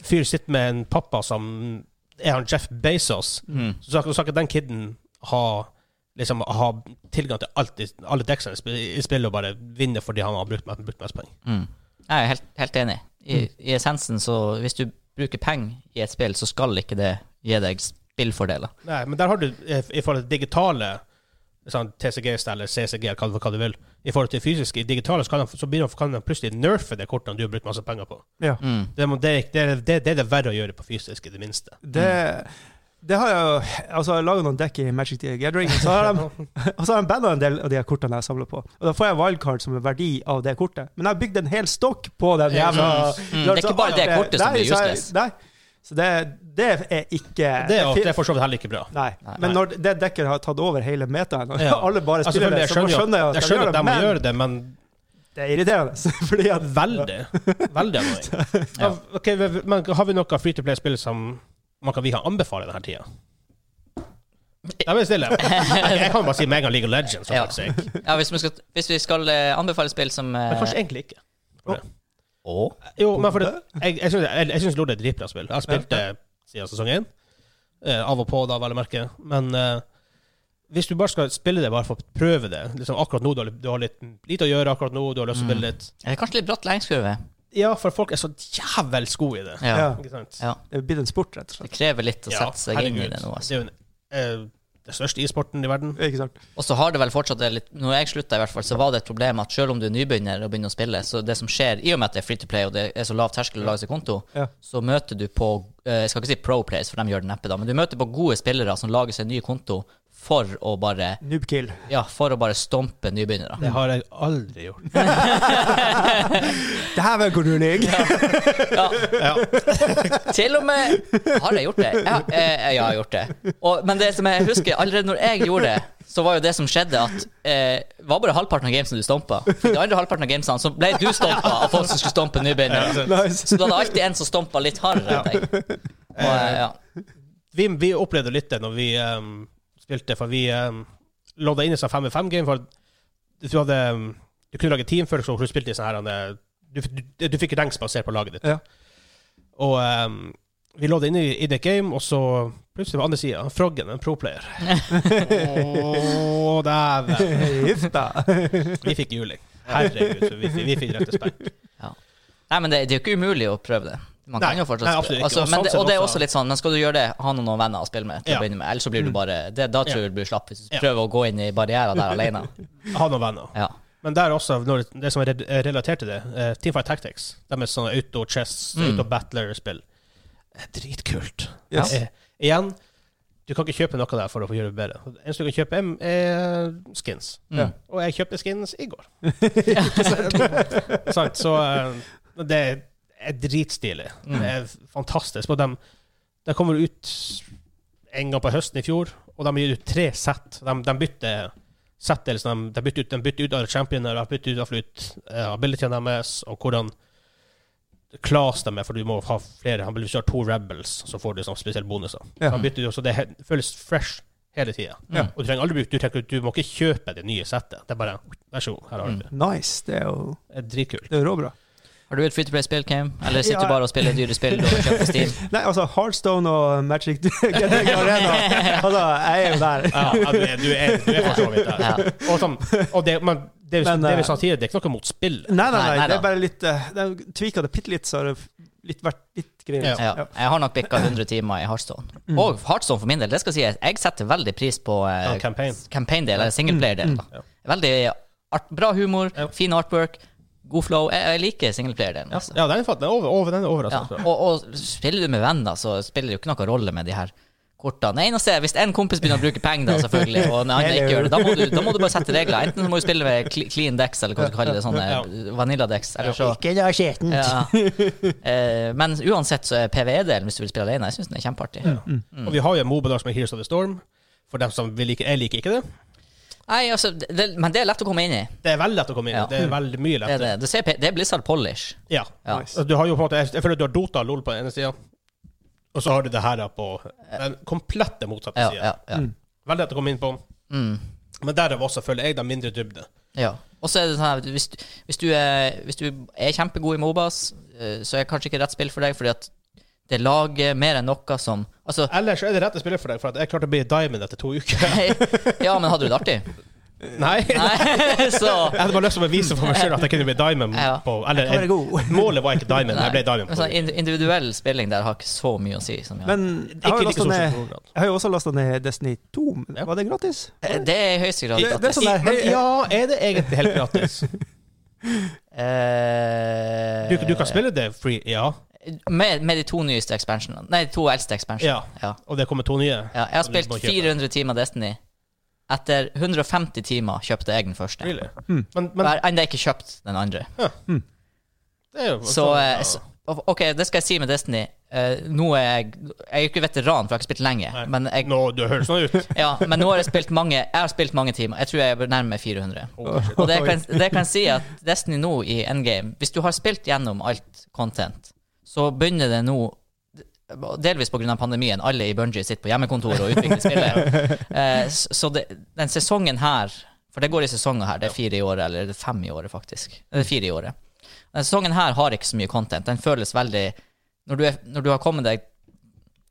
fyr sitter med en pappa som er han Jeff Bezos, Mm. så skal så skal ikke den kiden ha Liksom ha tilgang til alt i, alle deksene i sp- i spillet og bare vinne fordi han har brukt, me- brukt mest penger. Mm. Jeg er helt, helt enig. I, Mm. I essensen, så hvis du bruker penger i et spill, så skal ikke det gi deg spillfordeler. Nei, men der har du eh, i forhold til digitale sånn TCG-style eller CCG, eller hva, du- hva du vil. I forhold til fysiske, i digitale så kan de, så blir de, kan de plutselig nerfe det kortet du har brukt masse penger på. Ja. Mm. Det, må- det, er ikke- det, er- det, det er det verre å gjøre på fysisk, i det minste. Det, Mm. det har jeg jo Altså, jeg lager noen dekk i Magic the Gathering, og så har de, og så har de banna en del av de her kortene jeg samler på. Og da får jeg wildcard som en verdi av det kortet. Men jeg har bygd en hel stokk på den Ja, jævla Mm, det er ikke bare det kortet som Nei, blir så jeg- useless. Nei. Så det, det er ikke Det er, det er for så vidt heller ikke bra. Nei. Nei. Men når det dekket har tatt over hele metaen, og Ja. alle bare Altså, spiller selvfølgelig, det, jeg skjønner jo så skjønner jeg at, jeg skjønner at de må men gjøre det, men det er irriterende. Fordi at veldig. Veldig annoying. Ja. Ok, vi- men har vi noe free to play-spill som man kan, vi kan anbefale denne tida? Jeg vil stille. Jeg, jeg kan bare si med en gang League of Legends. For Ja. fuck's sake. Ja, hvis, vi skal, hvis vi skal eh, anbefale spill som eh, Men kanskje egentlig ikke. Å? Eh, Jo, men for det, jeg, jeg, syns, jeg, jeg syns LOL er et dritbra spill. Jeg har spilt det siden sesong én. Eh, av og på, da, vel å merke. Men eh, hvis du bare skal spille det, bare for å prøve det liksom Akkurat nå, du har, litt- du har litt lite å gjøre, akkurat nå, du har lyst til å spille litt Det er kanskje litt bratt læringskurve. Ja, for folk er så jævels gode i det. Ja. Ja. Ikke sant? Ja. Det er blitt en sport, rett og Det slett. krever litt å Ja, sette seg inn i herregud. det nå. Det Altså. er jo en, eh, den største e-sporten i verden. Ikke sant? Og så har det vel fortsatt det litt Når jeg slutta, i hvert fall, så var det et problem at selv om du er nybegynner og begynner å spille, så det som skjer, i og med at det er free to play og det er så lav terskel å lage seg konto, Ja. så møter du på eh, Jeg skal ikke si pro players, for de gjør det neppe, da, men du møter på gode spillere som lager seg en ny konto for å bare Noobkill. Ja, for å bare stompe nybegynnere. Det har jeg aldri gjort. Det her var en god ruling! Ja. Til og med Har jeg gjort det? Ja, eh, ja jeg har gjort det. Og, men det som jeg husker, allerede når jeg gjorde det, så var jo det som skjedde, at eh, det var bare halvparten av gamesene du stompa. For de andre halvparten av gamesene så ble du stompa av folk som skulle stompe nybegynnere. Så Nice. du hadde alltid en som stompa litt hardere enn deg. Og, eh, ja. Vi, vi opplevde litt det når vi ehm, spilte, for vi um, lodda inn i sånn 5v5-game. For du, hadde, ehm, du kunne lage team før, så du spilte i sånn her han, eh, Du, du, du fikk ranks basert på laget ditt. Ja. Og ehm, vi lodda inn i, i det game, og så plutselig på andre sida Froggen, en pro-player. Å, dæven. Gift, da. Vi fikk juling. Herregud, så vi, vi fikk rett og slett. Nei, men det, det er jo ikke umulig å prøve det. Man kan Nei, jo fortsatt nei, spille. absolutt ikke. Altså, Og men det, sånn og det er sett også- også litt sånn, men skal du gjøre det, ha noen venner å spille med til Ja. Mm. å begynne med, ellers så blir du bare det, Da tror jeg du blir slapp, hvis du Ja. prøver å gå inn i barrierer der alene. Ha noen venner. Ja. Men der også, når det- det som er re- relatert til det, eh, Teamfight Tactics, de er sånne auto-chess, Mm. auto-battler-spill, er Eh, dritkult. Yes. Eh, igjen, du kan ikke kjøpe noe der for å få gjøre det bedre. Det eneste du kan kjøpe, er, er eh, skins. Mm. Ja. Og jeg kjøpte skins i går. Sant, så eh, det er dritstilig. Det er fantastisk. Og de, de kommer ut en gang på høsten i fjor, og de gir ut tre sett. De, de bytter settles de, de bytter ut, de bytter ut alle championer, de bytter ut, iallfall ut eh, abilityene deres, og hvordan class de er, for du må ha flere. Han vil kjøre to rebels, så får du sånn spesielle bonuser. Ja. Han bytter ut, så det he- føles fresh hele tida. Ja. Og du trenger aldri bruke, du, tenker, du må ikke kjøpe det nye settet. Det er bare Vær så god, her har du Mm. det. Nice. Det er jo Det er dritkult. det er jo råbra. Har du et free to play-spill, Cam? Eller sitter Ja. du bare og spiller dyre spill og kjøper på Steam? Nei, altså, Heartstone og Magic Gathering Arena Altså, jeg er jo der. Ja, ja, du er, du er, du er for så vidt der. Ja. Og sånn, og det, men det, Men, det eh, vi sa tidligere, det er ikke noe mot spillet. Nei, Nei, nei, nei, nei det da. er bare litt eh, Det er tvika det bitte litt, så har det f- litt vært litt greier. Ja. Ja. Jeg har nok bikka 100 timer i Heartstone. Og Heartstone for min del, det skal sies, jeg setter veldig pris på eh, Ja, campaign. campaign-del, eller singleplayer-del. da. Ja. Veldig art, bra humor, Ja. fin artwork, god flow. Jeg, jeg liker singleplayer-delen. Ja, altså. ja den er fatt- den er over, over, den er Ja. overraskende. bra. Og, og spiller du med venner, så spiller det jo ikke noen rolle med de her kortene. Det eneste er hvis en kompis begynner å bruke penger, da, selvfølgelig, og en annen ikke gjør det, da må, du, da må du bare sette regler. Enten så må du spille med cl- clean decks, eller hva du kaller det, sånne vanilla-decks, eller så Ikke la skjeten. ja. Eh, Men uansett så er PVE-delen, hvis du vil spille alene, jeg syns den er kjempeartig. Mm. Og vi har jo en Mobadag som er Heroes of the Storm. For dem som vil like Jeg liker ikke det. Nei, altså, det, det- men det er lett å komme inn i. Det er veldig lett å komme inn. i. Ja. Det er veldig mye Det er, lettere. det. Du ser, P- det er Blizzard Polish. Ja. Ja. Nice. Og Du har jo på en måte Jeg jeg føler at du har Dota og LOL på den ene sida, og så har du det her da på den komplette motsatte Ja, siden ja, ja. Veldig lett å komme inn på. Mm. Men der er også, føler jeg, den mindre dybde. ja. Og så er det sånn her, hvis, du- hvis, du er, hvis du er kjempegod i Mobas, eh, så er det kanskje ikke rett spill for deg, fordi at det lager mer enn noe som Altså, Ellers er det rette spillet for deg, for at jeg klarte å bli diamond etter to uker. ja, men hadde du det artig? Nei. Nei, så Jeg hadde bare lyst til å bevise for meg selv at jeg kunne bli diamond Ja. på Eller Kan være jeg, god. målet var ikke diamond, jeg ble diamond. Nei, På. sånn ind- Individuell spilling der har ikke så mye å si. Som jeg har. Men jeg Ikke har jo like lastet stor ned- som Konrad. jeg har jo også lasta ned Destiny 2. men Ja. Var det gratis? Eh, det er i høyeste grad Det- det er gratis. sånn der, Men hei, ja, er det egentlig helt gratis? Eh, Du, du kan spille det free, ja. Med, med de to nyeste expansionene. Nei, de to eldste expansionene. ja. Ja. Og det kommer to nye. Ja, jeg har Som du spilt må kjøpe. 400 timer Destiny. Etter 150 timer kjøpte jeg den første. Really? Hmm. Men, Og jeg men har ennå ikke kjøpt den andre. det er jo Så, eh, ja. så OK, det skal jeg si med Destiny. Eh, nå er jeg Jeg er jo ikke veteran, for jeg har ikke spilt lenge. Nei. Men, jeg, Nå, du høres sånn ut. ja, men nå har jeg spilt mange Jeg har spilt mange timer. Jeg tror jeg er nærmere 400. Oh, shit. Og det jeg kan, det jeg kan si, er at Destiny nå i endgame Hvis du har spilt gjennom alt content, så begynner det nå Delvis pga. pandemien. Alle i Bungie sitter på hjemmekontor og utvikler spillet. Eh, s- Så det, den sesongen her For det går i sesonger her. Det er fire i året, eller det er fem i året, faktisk. Det er fire i året. Den sesongen her har ikke så mye content. Den føles veldig Når du, er, når du har kommet deg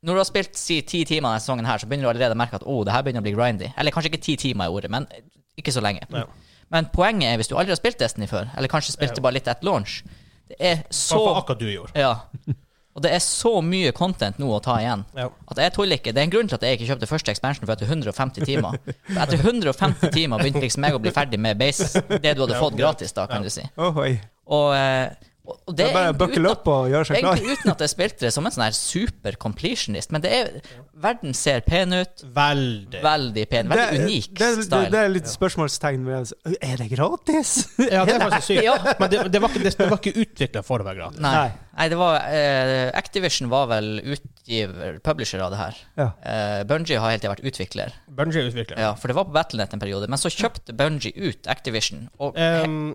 når du har spilt si ti timer denne sesongen, her, så begynner du allerede å merke at oh, det her begynner å bli grindy. Eller kanskje ikke ti timer i ordet, men ikke så lenge. Ja. Men poenget er, hvis du aldri har spilt Destiny før, eller kanskje spilte bare litt etter launch Det er så Hva akkurat du gjorde. Ja. Og det er så mye content nå å ta igjen. Ja. At jeg tuller ikke. Det er en grunn til at jeg ikke kjøpte første expansion for etter 150 timer. For etter 150 timer begynte liksom jeg å bli ferdig med base, det du hadde fått gratis, da, kan du si. Ohoi. Og, eh, og og Det det er bare egentlig å buckle uten opp og gjøre seg klar. Egentlig uten at jeg spilte det som en sånn her super completionist, men det er Verden ser pen ut. Veldig. Veldig pen. Veldig Det- unik det, det, style. det er litt spørsmålstegn ved altså, Er det gratis? Ja, det er faktisk sykt. Ja. Men det, det var ikke, det, det var ikke utvikla for å være gratis. Nei. Nei. Nei, det var eh, Activision var vel utgiver, publisher av det her. Ja. Uh, Bungie har helt til vært utvikler, Bungie utvikla. ja, for det var på Battlenet en periode. Men så kjøpte Bungie ut Activision. Og Um,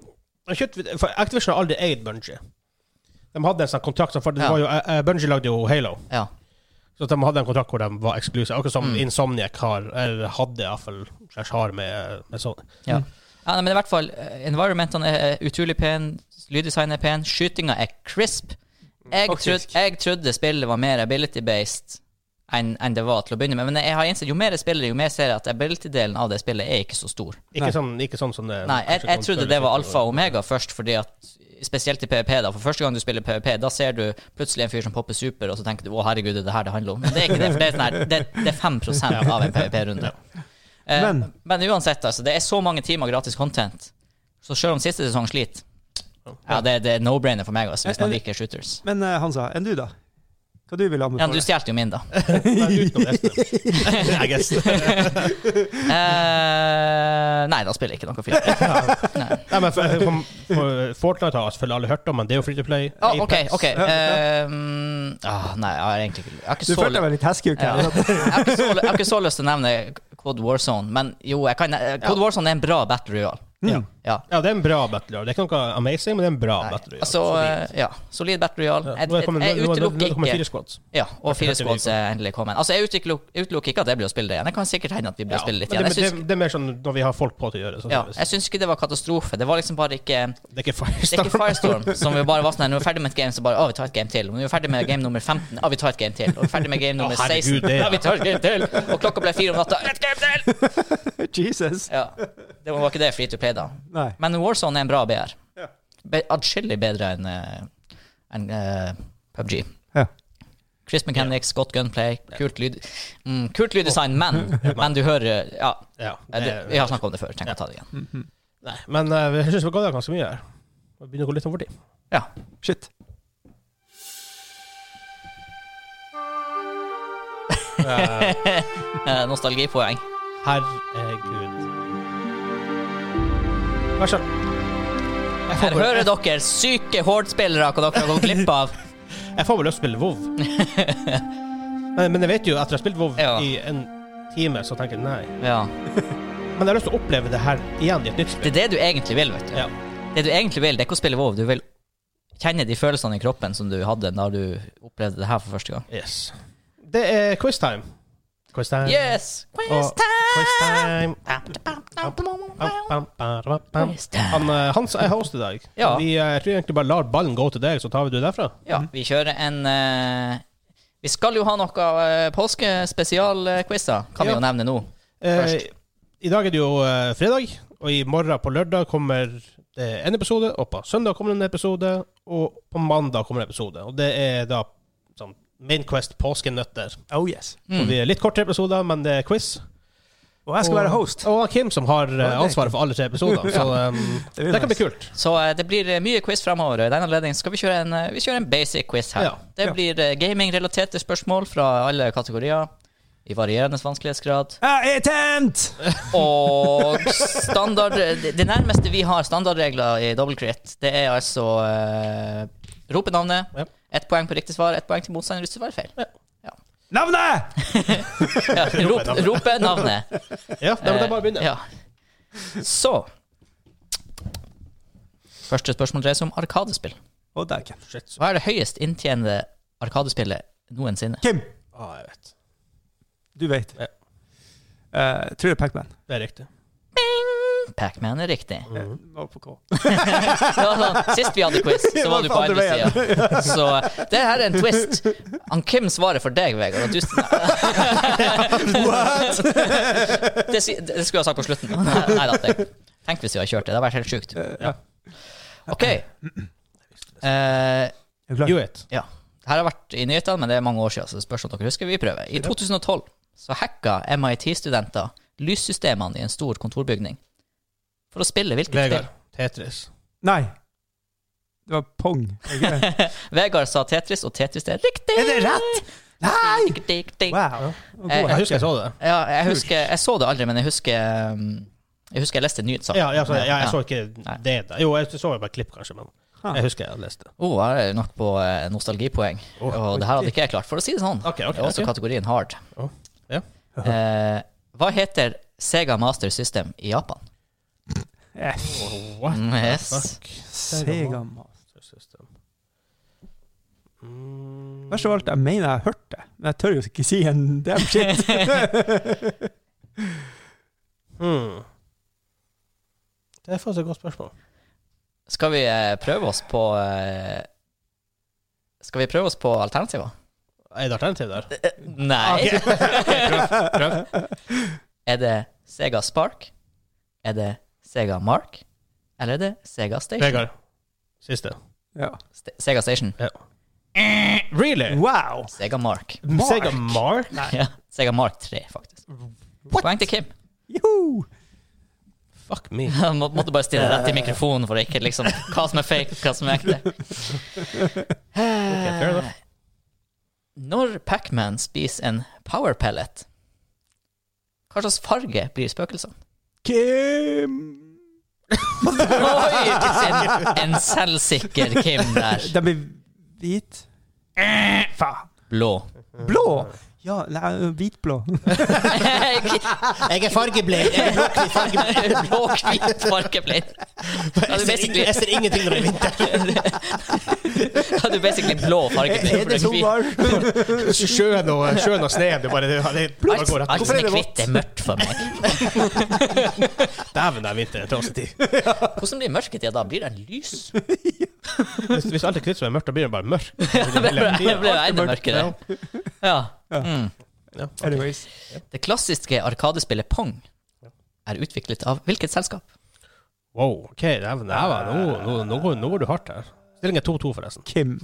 jeg kjøpte- for Activision har aldri eid Bungie. De hadde en sånn kontrakt som for, det Ja. var jo, eh, eh, Bungie lagde jo Halo. ja, Så de hadde en kontrakt hvor de var eksklusive. Akkurat som Mm. Insomniac har, eller hadde iallfall, slash har med, med sånn. ja. ja nei, men i hvert fall, eh, environmentene er eh, utrolig pen, lyddesign er pen, skytinga er crisp. Jeg, trod, Faktisk. jeg trodde spillet var mer ability-based enn enn det var til å begynne med, men jeg har innsett jo mer jeg spiller, jo mer ser jeg at ability-delen av det spillet er ikke så stor. Ikke Nei. sånn, ikke sånn som det Nei, jeg, jeg kanskje trodde kan det var føles alfa og omega først, fordi at Spesielt i PVP, da. For første gang du spiller PVP, da ser du plutselig en fyr som popper super, og så tenker du 'Å, herregud, det er det her det handler om'. Men det er ikke det, for det er, sånn her, det, det er 5 av en PVP-runde. Eh, men. Men- uansett, altså. Det er så mange timer gratis content, så selv om siste sesong sliter Ja, det, det er no-brainer for meg, altså, hvis man liker shooters. Men eh, Hansa, enn du, da? Hva du vil Ja, men du anbefale? stjal jo min, da. Nei, utenom resten. I guess. Eh, nei, da spiller jeg ikke noe film. Nei, men for, for, for Fortnite har selvfølgelig alle hørt om, men det er jo free to play. Ah, OK, Apex. OK. Eh, mm, ah, nei, jeg har egentlig ikke Jeg har ikke Du så følte deg litt heskeuk Ja. her. Jeg har ikke så- jeg har ikke så lyst til å nevne Cod Warzone, men jo, jeg kan, eh, Cod Warzone er en bra battle royale. Mm. Ja. Ja, det er en bra battle royale. Det er ikke noe amazing, men det er en bra Nei, battle royale. Altså, eh, ja. Solid battle royale. Ja. Nå Jeg, er det jeg, kommet- nå- jeg nå- nå- nå er det utelukker kommet ikke fire squads. Ja, og Jeg fire hørte det i squads er endelig kommet. Altså, jeg utelukker, utelukker ikke at jeg blir å spille det igjen. Det kan sikkert hende at vi blir å Ja, spille men litt igjen. det, Jeg syns, det, det er mer sånn når vi har folk på til å gjøre så ja, gjøres det. jeg syns ikke det var katastrofe. Det var liksom bare ikke Det Det er ikke er ikke Firestorm. Firestorm som vi bare var sånn her, Når vi er ferdig med et game, så bare Å, vi tar et game til. Og når vi er ferdig med game nummer 15, Å, vi tar et game til. Og vi er ferdig med game nummer Å, herregud, 16, det, ja. Ja, vi tar et game til. Og klokka ble fire om natta, et game til! Jesus. Ja. Det var ikke det free to play, da. Nei. Men Warzone er en bra BR. Ja. Be- Atskillig bedre enn eh, enn, eh, PubG. Ja. Chris Mechanics, godt gunplay, kult lyd mm, Kult lyddesign, men, men du hører Ja, Ja, det, det, vi har snakka om det før. Tenk å ta det igjen. nei, men eh, jeg syns vi har gått av ganske mye her. Vi begynner å gå litt over tid. Ja. Shit. Eh, Nostalgipoeng. Herregud. Vær så jeg Her får, bare, hører dere syke Horde-spillere hva dere har gått glipp av. jeg får vel lyst til å spille WoW. men, men jeg vet jo, etter jeg har spilt WoW Ja. i en time, så tenker jeg nei. Ja. Men jeg har lyst til å oppleve det her igjen i et nytt Det spill. er det du egentlig vil, vet du. Ja. Det du egentlig vil, det er ikke å spille WoW. Du vil kjenne de følelsene i kroppen som du hadde da du opplevde det her for første gang. Yes. Det er quiztime. Quiztime. Yes! Og- Quiz Quiztime. time! Bam, bam, bam, bam. Quiz time. Han, eh, Hans er host i dag. Ja. Vi, eh, jeg tror egentlig bare lar ballen gå til deg, så tar vi det derfra. Ja, vi kjører en eh, Vi skal jo ha noe uh, påskespesialquizer, kan vi Ja. jo nevne nå. Eh, Først. I dag er det jo eh, fredag, og i morgen på lørdag kommer det en episode, og på søndag kommer det en episode, og på mandag kommer det en episode. Og det er da sånn Mainquest påskenøtter. Oh yes. Mm. Og vi er litt kortere episoder, men det er quiz. Og jeg skal være host. Og Kim som har eh, det er ansvaret for alle tre episodene, så um, det, Det blir kan bli nice. kult. Så eh, det blir eh, mye quiz fremover. og I den anledning skal vi kjøre en, eh, vi kjører en basic quiz her. Ja. Det Ja. blir eh, gaming-relaterte spørsmål fra alle kategorier. I varierende vanskelighetsgrad. Jeg er tent! Og standard Det det nærmeste vi har standardregler i double crit, det er altså eh, rope navnet, Ja. ett poeng på riktig svar, ett poeng til motstander hvis det var feil. Navnet! Ja, rop, rope navnet. Ja, det, det er bare å begynne. Eh, ja. Så Første spørsmål dreier seg om arkadespill. Å, dæken. Shit, så. Hva er det høyest inntjenende arkadespillet noensinne? Kim, Ah, jeg vet. du vet. Ja. Eh, tror det er Pacman. Det er riktig. Pacman er riktig. Eh, nå på K. Ja, sånn, sist vi hadde quiz, så var du på Andre andre sida. Så eh, det her er en twist. Han Kim svarer for deg, Vegard. Og du What?! det, si- det skulle jeg ha sagt på slutten. Nei, nei da, det- Tenk hvis vi hadde kjørt det. Det hadde vært helt sjukt. Eh, ja. OK. Eh, Er du klar? You it. Ja. Det her har vært i nyhetene, men det er mange år siden, så det spørs om dere husker. Vi prøver. I 2012 så hacka MIT-studenter lyssystemene i en stor kontorbygning for å spille hvilket Vegard. spill. Tetris. Nei. Det var Pong. Ikke det? Vegard sa Tetris, og Tetris er riktig! Er det rett? Nei! Riktig, riktig. Wow. Eh, Jeg husker jeg så det. Ja, jeg husker Jeg så det aldri, men jeg husker um, Jeg husker jeg leste en nyhetssak. Ja, jeg, så, ja, jeg Ja. så ikke Nei. det. da. Jo, jeg så jo bare klipp, kanskje, men Ah. jeg husker jeg leste det. Oh, her er nok på eh, nostalgipoeng. Oh, og det her hadde ikke jeg klart, for å si det sånn. Ok, ok, det er også ok. kategorien hard. Oh, ja. Eh, hva heter Sega Master System i Japan? Eh, What? Mm, yes. Fuck. Sega Master. System. Mm. Verst av alt, jeg mener jeg har hørt det, men jeg tør jo ikke si en damn shit. Mm. Det er faktisk et godt spørsmål. Skal vi eh, prøve oss på eh, Skal vi prøve oss på alternativer? Er det alternativ der? ah, Nei. Er det Sega Spark? Er det Sega Mark? Eller er det Sega Station? Vegard. Siste. ja. Ste Sega Station. Ja. Really? Wow! Sega Mark. Sega Mark? Ja, Sega Mark 3, faktisk. Poeng til Kim. Joho! Fuck me. Han må, måtte bare stille rett i mikrofonen for å ikke liksom Hva som er fake, hva som er ekte. fair enough. Når Pacman spiser en power pellet, hva slags farge blir spøkelsene? Kim! Oi! En, en selvsikker Kim der. Den blir hvit. Faen. Blå. Blå! Ja, nei, hvitblå. Jeg Jeg er fargeblind. Jeg er blokkvis fargeblind. Blåhvit fargeblind. Ja, Jeg du er ser, ing- basically, jeg ser ingenting når jeg vinter. ja, du er basically blå fargeblind. Er det sommer? Sjøen og, sjøen og sneen, det er bare det, det, bare Alt, går rett alt som er hvitt, er mørkt for meg. Dæven, det er vinter. Trasig tid. Hvordan blir mørketida da? Blir den lys? Hvis, hvis alt er kvitt som er mørkt, da blir det bare mørkt. Det blir det blir jo enda mørkt, mørkere. Ja. Mm. Anyways. Det klassiske arkadespillet Pong er utviklet av hvilket selskap? Wow, ok, dæven. det her var- Nå, nå, nå, går- nå går du hardt her. Stillingen er 2-2, forresten. Kim.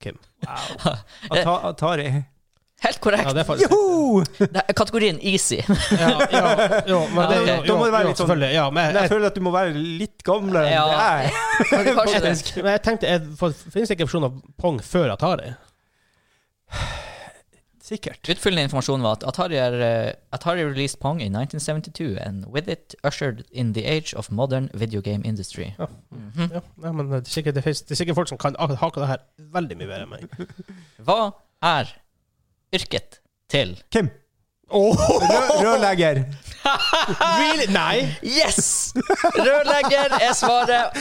Kim. Ata Eh. Atari. Helt korrekt. Ja, det er faktisk Joho! Det er kategorien easy. ja, ja, jo, men det, Ja, jo, ok. Da må jo, det være litt sånn- selvfølgelig, Ja, men Men jeg jeg, føler at du må være litt gamlere enn det Eh. Ja. er. Kanskje det. jeg, men jeg tenkte jeg, for, Finnes det ikke en versjon av Pong før Atari? Sikkert. Utfyllende informasjon var at Atari, er, eh, Atari released Pong in 1972, and with it ushered in the age of modern video game industry. Ja. Mhm. Ja, nei, men det er, sikkert, det, finnes, det er sikkert folk som kan ak- hake det her veldig mye bedre enn meg. Hva er yrket til Kim. Rø- Rørlegger. Really? Nei! Yes! Rørlegger er svaret.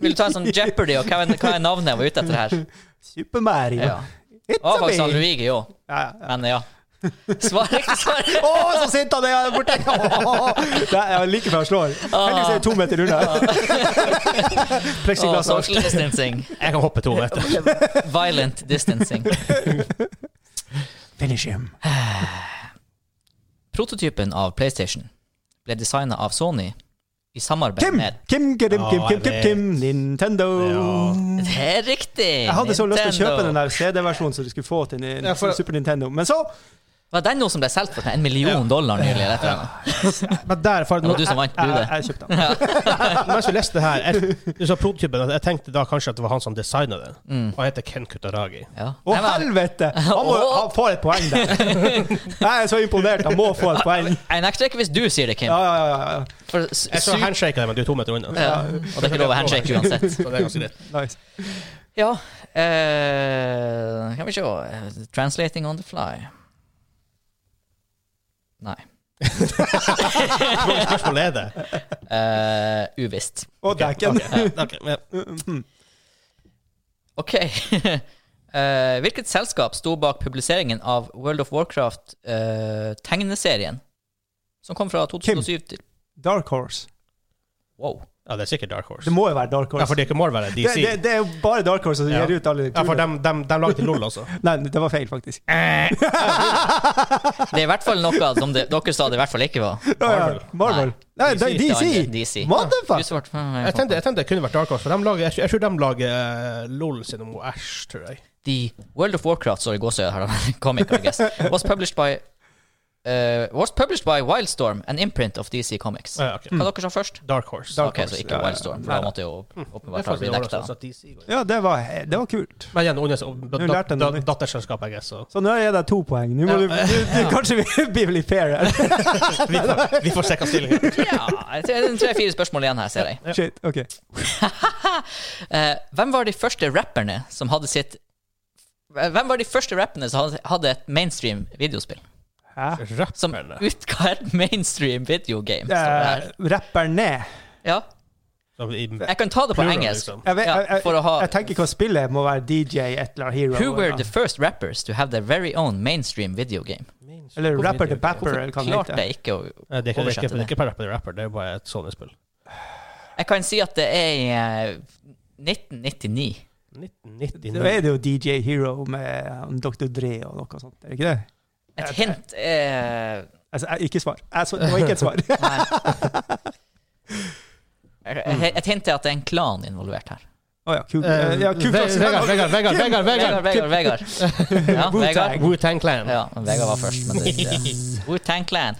Vil du ta en sånn Jeopardy, og hva er, hva er navnet jeg var ute etter her? Super Mario. Ja. It's Og a faktisk me. Luigi òg, Ja, ja. men ja. Svar riktig svar. Å, så sint han er her borte! Åh, Nei, jeg er like før han slår. Heldigvis er det to meter Ah. unna. Og Plexiglass og alt. social distancing. Jeg kan hoppe to meter. Violent distancing. Finish him. Prototypen av PlayStation ble designa av Sony i samarbeid Kim! med Kim, Kim, Kim, Kim, Kim, Ja, jeg Kim, Nintendo. Ja. Det er riktig! Mm. Jeg hadde så lyst til å Nintendo. kjøpe den der CD-versjonen som du skulle få til en Ja, for- Super Nintendo, men så Var den noe som ble solgt for en million dollar nylig? rett og slett? Men der, for, Det var du som vant, jeg, du det. jeg kjøpte den. mens vi leste det her, jeg, du sa prototypen, og jeg tenkte da kanskje at det var han som designa den. Mm. Og han heter Ken Kutaragi. Ja. Å, Nei, men- helvete! Han, må, Åh. han får et poeng der. Jeg er så imponert. Han må få et poeng. Jeg nekter ikke hvis du sier det, Kim. Ja, ja, ja, ja. For su- Jeg så handshake der, men du er to meter unna. ja. Og det er ikke lov å handshake uansett. Så det er ganske greit. Nice. Ja eh, Kan vi se Translating on the fly. Nei. Hva spørsmål er det? Eh, uvisst. Og dekken. Ok, men, Mm, Ok. Eh, hvilket selskap sto bak publiseringen av World of Warcraft-tegneserien? som kom fra 2007 til Dark Horse. Wow. ja, det er sikkert Dark Horse. Det må jo være Dark Ja, Horse. for det ikke må være Det, DC. det, det er jo bare Dark Horse som Ja. gir ut alle de ja, for Eh. kulene. dem, dem, dem lagde LOL også. Nei, det var feil, faktisk. Det er i hvert fall noe som det, dere sa det i hvert fall ikke var. Ja, ja. Marvel. Marvel. Nei, det er Ikke DC! DC. Du Motherfuck! svarte "Hm, Jeg tenkte, jeg tenkte det kunne vært Dark Horse, for dem lager, jeg, tror- jeg tror de lager eh, LOL sin om Ash, tror jeg. The World of Warcraft, sorry, gåsøya her, da. comic, I guess, was published by eh, Was published by Wildstorm, an imprint of DC Comics. Ja, ok. Hva dere sa først? Mm. Dark Horse. Dark ok, så Horse, ikke ja, Hm. ja. Wildstorm, for da måtte jo Det er åpenbart ha faktisk blitt overraskende nekta. sånn at DC går inn. Ja, det var, det var kult. Men igjen, under, Nå lærte jeg da, noe nytt. datterselskap, jeg guess. Så. Så nå gir jeg deg to poeng. Nå må du, du, du, kanskje vi blir litt fair her. Vi får, vi får sjekke stillingen. Ja, jeg tror- det er tre-fire spørsmål igjen her, ser jeg. Shit, ok. Eh, hvem var de første rapperne som hadde sitt Hvem var de første rapperne som hadde- hadde et mainstream videospill? Hæ? Som Rapperne. utga et mainstream videogame. står det Eh, her. Rapper ned. Ja, Som i- jeg kan ta det på Plural, engelsk. liksom. Jeg, vet, Ja, jeg, jeg, for å ha- jeg tenker hva spillet må være DJ et eller annet hero. Who were eller- the first rappers to have their very own mainstream video game? Eller Rapper the Bapper, eller hva det Klarte heter. jeg ikke å Nei, Det er ikke, det er ikke, det er oversette det. ikke per rapper, det er rapper, det er bare et Sony-spill. Jeg kan si at det er i eh, 1999. Da 1999. er det jo DJ Hero med um, Dr. Dre og noe sånt, er det ikke det? Et hint eh, er Altså, jeg, ikke svar. Jeg, så, det var ikke et svar. Nei. Et hint er at det er en klan involvert her. Å ja, kult. Eh, ja, kult Ve- Vegard, Vegard, Vegard, Vegard, Vegard, Vegard! Vegard, Vegard. Ja, Vegard. Wu-Tang Clan. Ja, men Vegard var først, men det er ikke Wu-Tang Clan.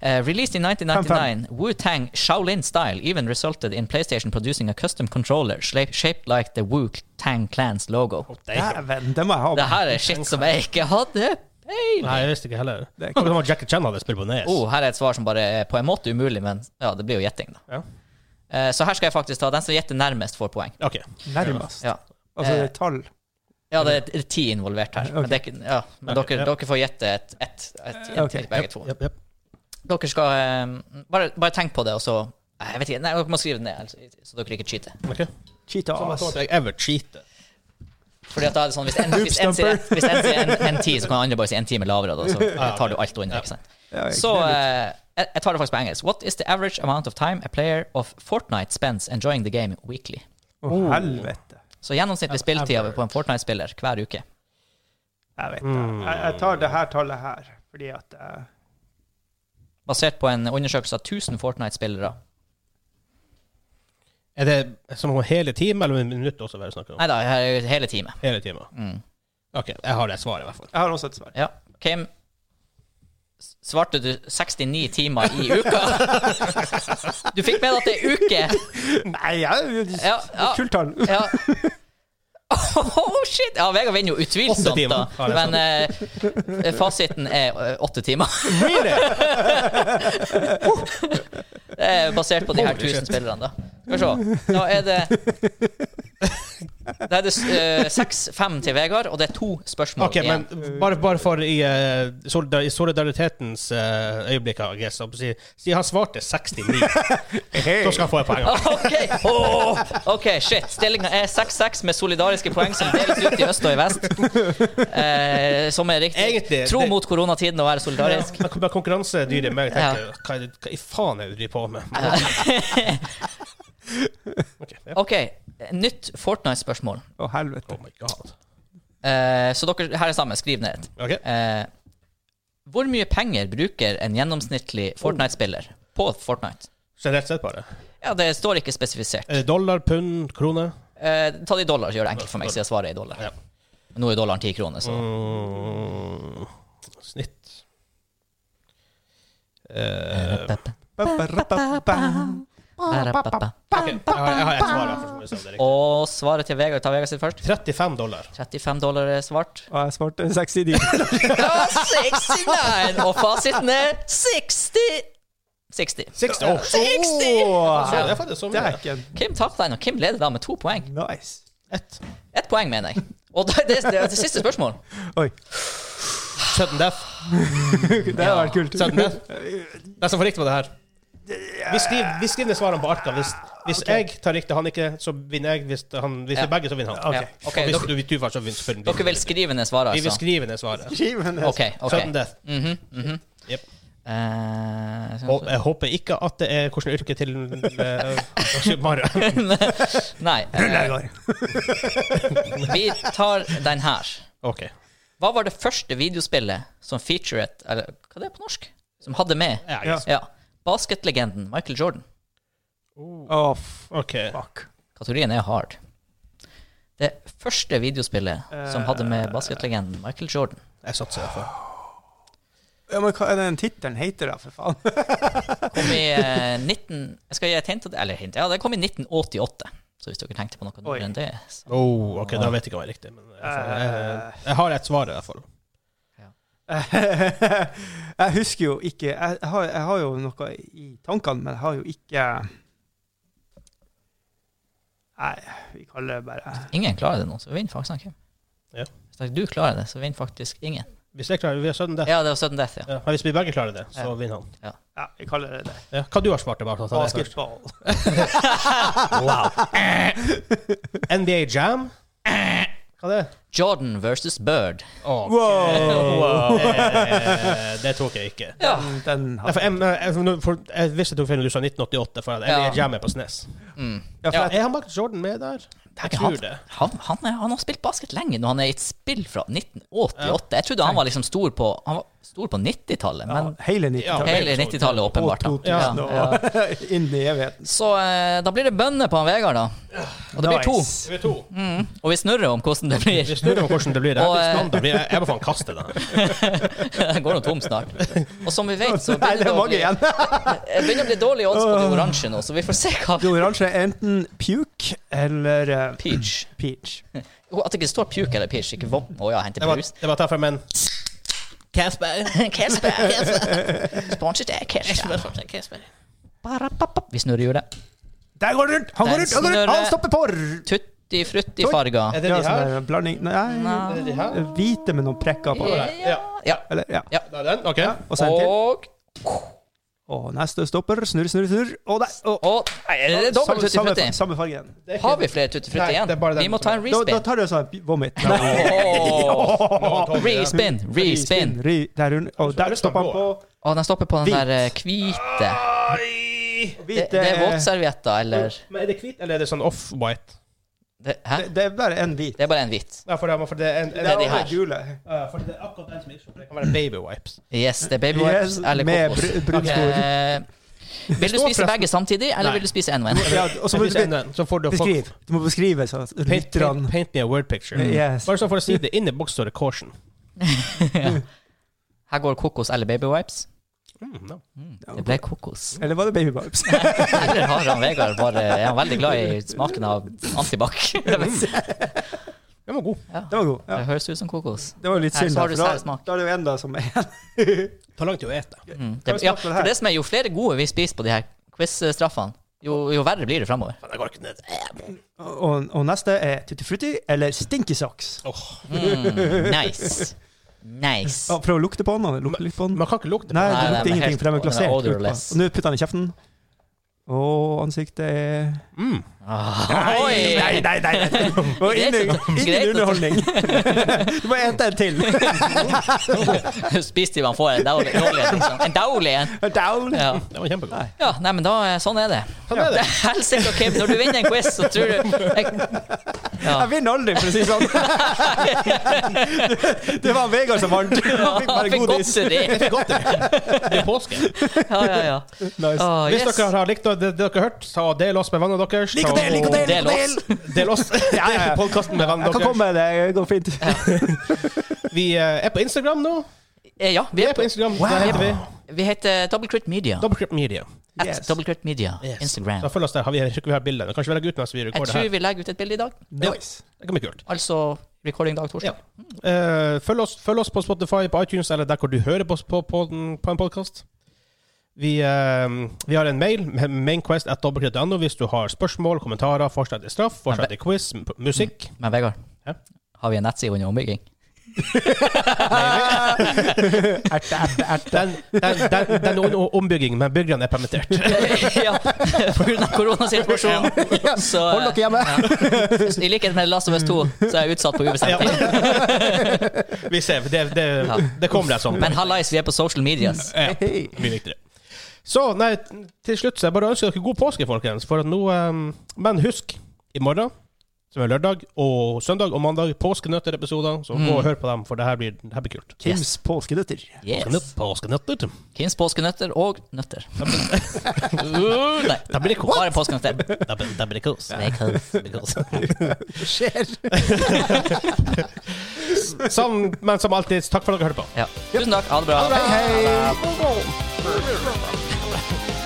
Eh, released in 1999, Wu-Tang Shaolin style even resulted in PlayStation producing a custom controller shla- shaped like the Wu-Tang Clans logo. Dæven, det må jeg ha. Det her er shit som jeg ikke hadde peiling Nei, jeg visste ikke heller. Det er Akkurat som om Jackie Chan hadde spilt på E Nes. Oh, her er et svar som bare er på en måte umulig, men ja, det blir jo gjetting, da. Ja. Eh, så her skal jeg faktisk ta den som gjetter nærmest, får poeng. Ok. Nærmest. Ja. Altså, det Eh, er tall. Ja, det er ti involvert her. Men, det er, ikke- ja, men Ok, dere, ja. dere får gjette et, et, et, et Ok, begge Jep, to. jep, jep. Dere skal eh, bare, bare tenk på det, og så Nei, Jeg vet ikke, nei, dere må skrive det ned, altså, så dere ikke cheater. Ok. Cheetahs. Sånn at jeg ever cheater. Fordi at da er det sånn, Hvis en, hvis en, sier, hvis en sier en, en ti, så kan andre bare si en time lavere, da, så tar du alt og ikke sant? Ja, jeg Så kneler litt. eh, jeg jeg tar det faktisk på engelsk. What is the average amount of time a player of Fortnite spends enjoying the game weekly? Å, oh. helvete. Så gjennomsnittlig spilletid average. på en Fortnite-spiller hver uke. Jeg vet det. Jeg, jeg tar det her tallet her, fordi at eh, Basert på en undersøkelse av 1000 Fortnite-spillere. Er det som om hele timen, eller minutt også, hva er det snakk om? Nei da, hele time. Hele timen. Mm. Ok, jeg har det svaret, i hvert fall. Jeg har også et svar. Ja. Kim, s- svarte du 69 timer i uka? Du fikk med deg at det er uke. Nei, jeg, Ja, ja. kult tall. Ja. Oh, shit! Ja, Vegard vinner jo Åtte utvilsomt, da. timer. Ja, det er Men eh, fasiten er eh, åtte timer. Really? Det er basert på de her Holy shit. 1000 spillerne, da. Skal vi se. Da er det Da er det eh, 6-5 til Vegard, og det er to spørsmål Ok, men igjen. bare, bare for i, eh, solidar i solidaritetens eh, øyeblikk, I guess. jeg holdt på å Si, si han svarte 69, så skal han få et poeng. Ah, OK, Åh, ok, shit. Stillinga er 6-6 med solidariske poeng som deles ut i øst og i vest. Eh, som er riktig. Egentlig, Tro det- mot koronatiden og være solidarisk. Men men konkurransedyret i meg Ja. tenker hva, er det- hva i faen er det du driver på med? Ok, ja. OK, nytt Fortnite-spørsmål. Å, helvete. Oh my god. Eh, så dere her er sammen. Skriv ned. Ok. Eh, hvor mye penger bruker en gjennomsnittlig Fortnite-spiller på Fortnite? Generelt sett, bare. Ja, det står ikke spesifisert. Er det dollar, pund, krone? Eh, ta det i dollar, så gjør det enkelt for meg, siden svaret er i dollar. Ja. Nå er dollaren ti kroner, så Mm, snitt Eh, Ba-ba-ra-ba-ba. ok, Jeg har jeg har ett svar. i hvert fall, så må vi se om det er riktig. Og svaret til Vegard tar Vegard sitt først. 35 dollar. 35 dollar er svart. Og jeg svarte 69. Ja, 69! Og fasiten er 60! 60. 60? Oh, så, 60! Åh, det er faktisk så mye. Dæken. Kim tapte den, og Kim leder da med to poeng. Nice. Ett. Ett poeng, mener jeg. Og det, det, det, det siste spørsmål. Oi. Sudden death. Det hadde vært kult. Sudden death. Den som får riktig på det her. Vi skriver, vi skriver ned svarene på arkene. Hvis, hvis jeg tar riktig, han ikke, så vinner jeg. Hvis, han, hvis det Ja. er begge, så vinner han. Ok. Ja. Ok, Og hvis dere, du vil tufer, så vinner selvfølgelig dere vil skrive ned svaret, Vi vil altså? skrive ned svaret. Skrivende. OK. ok Sudden death. Mhm, mhm. Jep. Eh, så- Og jeg håper ikke at det er hvilket yrke til eh, Super Mario. Nei. eh, vi tar den her. OK. Hva var det første videospillet som featuret Eller hva det er på norsk? Som hadde med Ja, Ja. yes. Ja, basketlegenden Michael Jordan. Åh, f- OK. fuck. Kategorien er hard. Det første videospillet som hadde med basketlegenden Michael Jordan. Jeg satser derfor. Ja, men hva er den tittelen heter da, for faen? Kom i eh, 19... Jeg skal gi et hint. Eller hint. Ja, det kom i 1988. Så hvis dere tenkte på noe Oi. nyere enn det så- Oh, OK, da vet jeg ikke om det er riktig. Men eh, jeg, får- jeg, jeg har et svar i hvert fall. jeg husker jo ikke jeg har, jeg har jo noe i tankene, men jeg har jo ikke Nei, vi kaller det bare Ingen klarer det nå, så vinner faktisk han Kim. Ja. Hvis du klarer det, så vinner faktisk ingen. Hvis jeg klarer vi har sudden death. Ja, det var sudden death, ja. Ja. Men hvis vi begge klarer det, så Ja. vinner han. Ja, vi kaller det det. Ja. Hva du har svart tilbake? sånn at jeg først. Basketball. Wow. NBA Jam? Hva det er Jordan versus Bird. Åh, Wow! eh, det tok jeg ikke. Ja. Den- Mm, Den Nei, for hadde jeg, jeg, for- for, jeg visste du feil når du sa 1988, for at NBA Ja. Jam er på SNES. Mm. Ja, for Ja. jeg, Er han Michael Jordan med der? Jeg tror det. Han, han, er, han har spilt basket lenge nå. Han er i et spill fra 1988. Jeg trodde han var liksom stor på Han var stor på 90-tallet, ja, men hele Ja, 90-tallet. hele 90-tallet, Og åpenbart. Da. 2000 Ja, ja. og inn i evigheten. Så eh, da blir det bønner på han Vegard, da. Og det blir to. Nice. Vi er to. Og vi snurrer om hvordan det blir. Vi snurrer om hvordan det blir. Det Mm. Og, er eh, standard. Det blir- Jeg jeg må faen kaste den. her. Det går nå tom snart. Og som vi vet, så begynner Nei, det det er å mange bli, igjen. det begynner å bli dårlige odds på det oransje nå, så vi får se hva Det oransje er enten puke eller eh, Peach. peach. Jo, At det ikke står puke eller peach, ikke vom. Å ja, hente Det var, brus. det var derfor, men Casper. Casper. Sponset er Casper. Ba-ra-ba-ba. Vi snurrer hjulet. Der går det rundt! Han går Den rundt! Han, går rundt. han snurrer. stopper på! Tut, frutti-farger. Er det ja, de sånn her? der blanding Nei, Er det Nei. de her? hvite med noen prekker på. Ja. Ja. Ja. Eller, ja. Ja. Det er den? OK. Og så en til. Og Og neste stopper. Snurr, snurr, snurr. Og der. Og, Å, nei, er det dobbelt samme, samme, tutti-frutti? samme farge igjen. Det er ikke- Har vi flere tutti-frutti Nei, igjen? det er bare den Vi må som ta en Da, da respin. tar du sånn vomit. Nå, Åh, Tommy, ja. Respin, respin. Ri, der, hun- og der lyst til å stopper han på. blå, Å, den stopper på den Hvit. der eh, hvite. Ai! Det, Hvit, det er eh, våtservietter, eller Men er det hvit, eller er det sånn off-white? det, Hæ? det, det er bare en hvit. Det er bare en hvit. Ja, for det, for det er en, en, Det er de her. Gule. Ja, for det er akkurat den som ikke skjønner. Det kan være baby wipes. Yes, det er baby Yes, wipes eller med kokos. br- brunt hår. Eh, Vil du står spise forresten- begge samtidig, eller Nei. vil du spise én og én? Ja, og så må Hvis en- du så får du beskrive. Du må beskrive så at Paint, paint, lytterne Mm. paint me a word picture. Yes. Bare sånn for å si det, inni boks står det caution. Her går kokos eller baby wipes. Mm, no. Det ble kokos. Eller var det baby babes? Eller har han Vegard bare Er han veldig glad i smaken av antibac? Det vil si. Den var god. Det var god. Ja. Det høres ut som kokos. Det var jo litt Her, synd, så da, har du for da, særsmak. da er det jo en da som er Tar lang tid å ete. Mm. Det, ja, for det som er jo flere gode vi spiser på de her quiz-straffene, jo, jo verre blir det framover. Men jeg går ikke ned. og, og neste er Tutti Frutti eller Stinky Socks. Mm. Nice. Nice. Ja, prøv å lukte på den. og Lukte litt på den. Man kan ikke lukte Nei, på Nei, den det lukter er ingenting, helt- for de er den er glasert. lukt på. odorless. Og Nå putter han i kjeften. Og ansiktet er Mm. Oi! Nei, nei, nei! nei. Og Greit ingen, å ta- ingen greit å ta- underholdning. Du må ete en til. Spis til man får en dowley. dowley, liksom. En dowley en. Down. Ja. Det var kjempegod. ja, nei, men da eh, Sånn er det. Sånn er det. Helsike, Kim. Når du vinner en quiz, så tror du jeg, ja. Jeg vinner aldri, for å si det sånn. Det var Vegard som vant. Han fikk bare Fikk godis. godteri. Godt, det. det er påske. Ja, ja, ja. Nice. Åh, Hvis yes. dere har likt det dere har hørt, så del oss med vennene deres. Lykke til, lykke til! Del oss. lykke til. Del oss. Ja, ja, ja. Del podcasten med vennene Jeg kan deres. komme, det går fint. Vi eh, er på Instagram nå. Eh, ja, vi Vi er er på på Instagram. Der heter vi Vi heter Double Crit Media. Double Crip Media. At Yes. Double Crit Media. Instagram. Så følg oss der. Har vi, jeg tror ikke vi har bildene. Kanskje vi legger ut mens vi Jeg rekorder tror her. vi legger ut et bilde i dag. Nice. Det kan bli kult. Altså recording dag torsdag. Eh, følg, oss, følg oss på Spotify, på iTunes eller der hvor du hører på, oss på, på, den- på en podkast. Vi, eh, vi har en mail, mainquest at dobbeltkritt.no, hvis du har spørsmål, kommentarer, forslag til straff, forslag til quiz, m- musikk. Men Vegard, Ja? har vi en nettside under ombygging? Erte, erte, erte. Den, den, den, den er under ombygging, men byggerne er permittert. ja, på grunn av koronasituasjonen. Så Hold dere hjemme. eh, i likhet med Last of Us 2, så er jeg utsatt på ubestemt Ja. tid. Vi ser. Det, det, Ja. det kommer det sånn. Men hallais, vi er på social medias. Ja, mye viktigere. Så nei, til slutt så jeg bare ønsker dere god påske, folkens. For at nå, eh, men husk, i morgen, som er lørdag, og søndag og mandag, påskenøtter-episoder. Så gå og hør på dem, for det her blir, det her blir kult. Kims påskenøtter. Yes. Påskenøtter. Kins påskenøtter og nøtter. Uh, Nei, Da blir det kos. bare påskenøtter. Da blir- da blir det kos. Det er kaos. Det blir kos. Skjer. Som, men som alltid, takk for at dere hørte på. Ja. Tusen takk. Ha det bra. Hei, hei.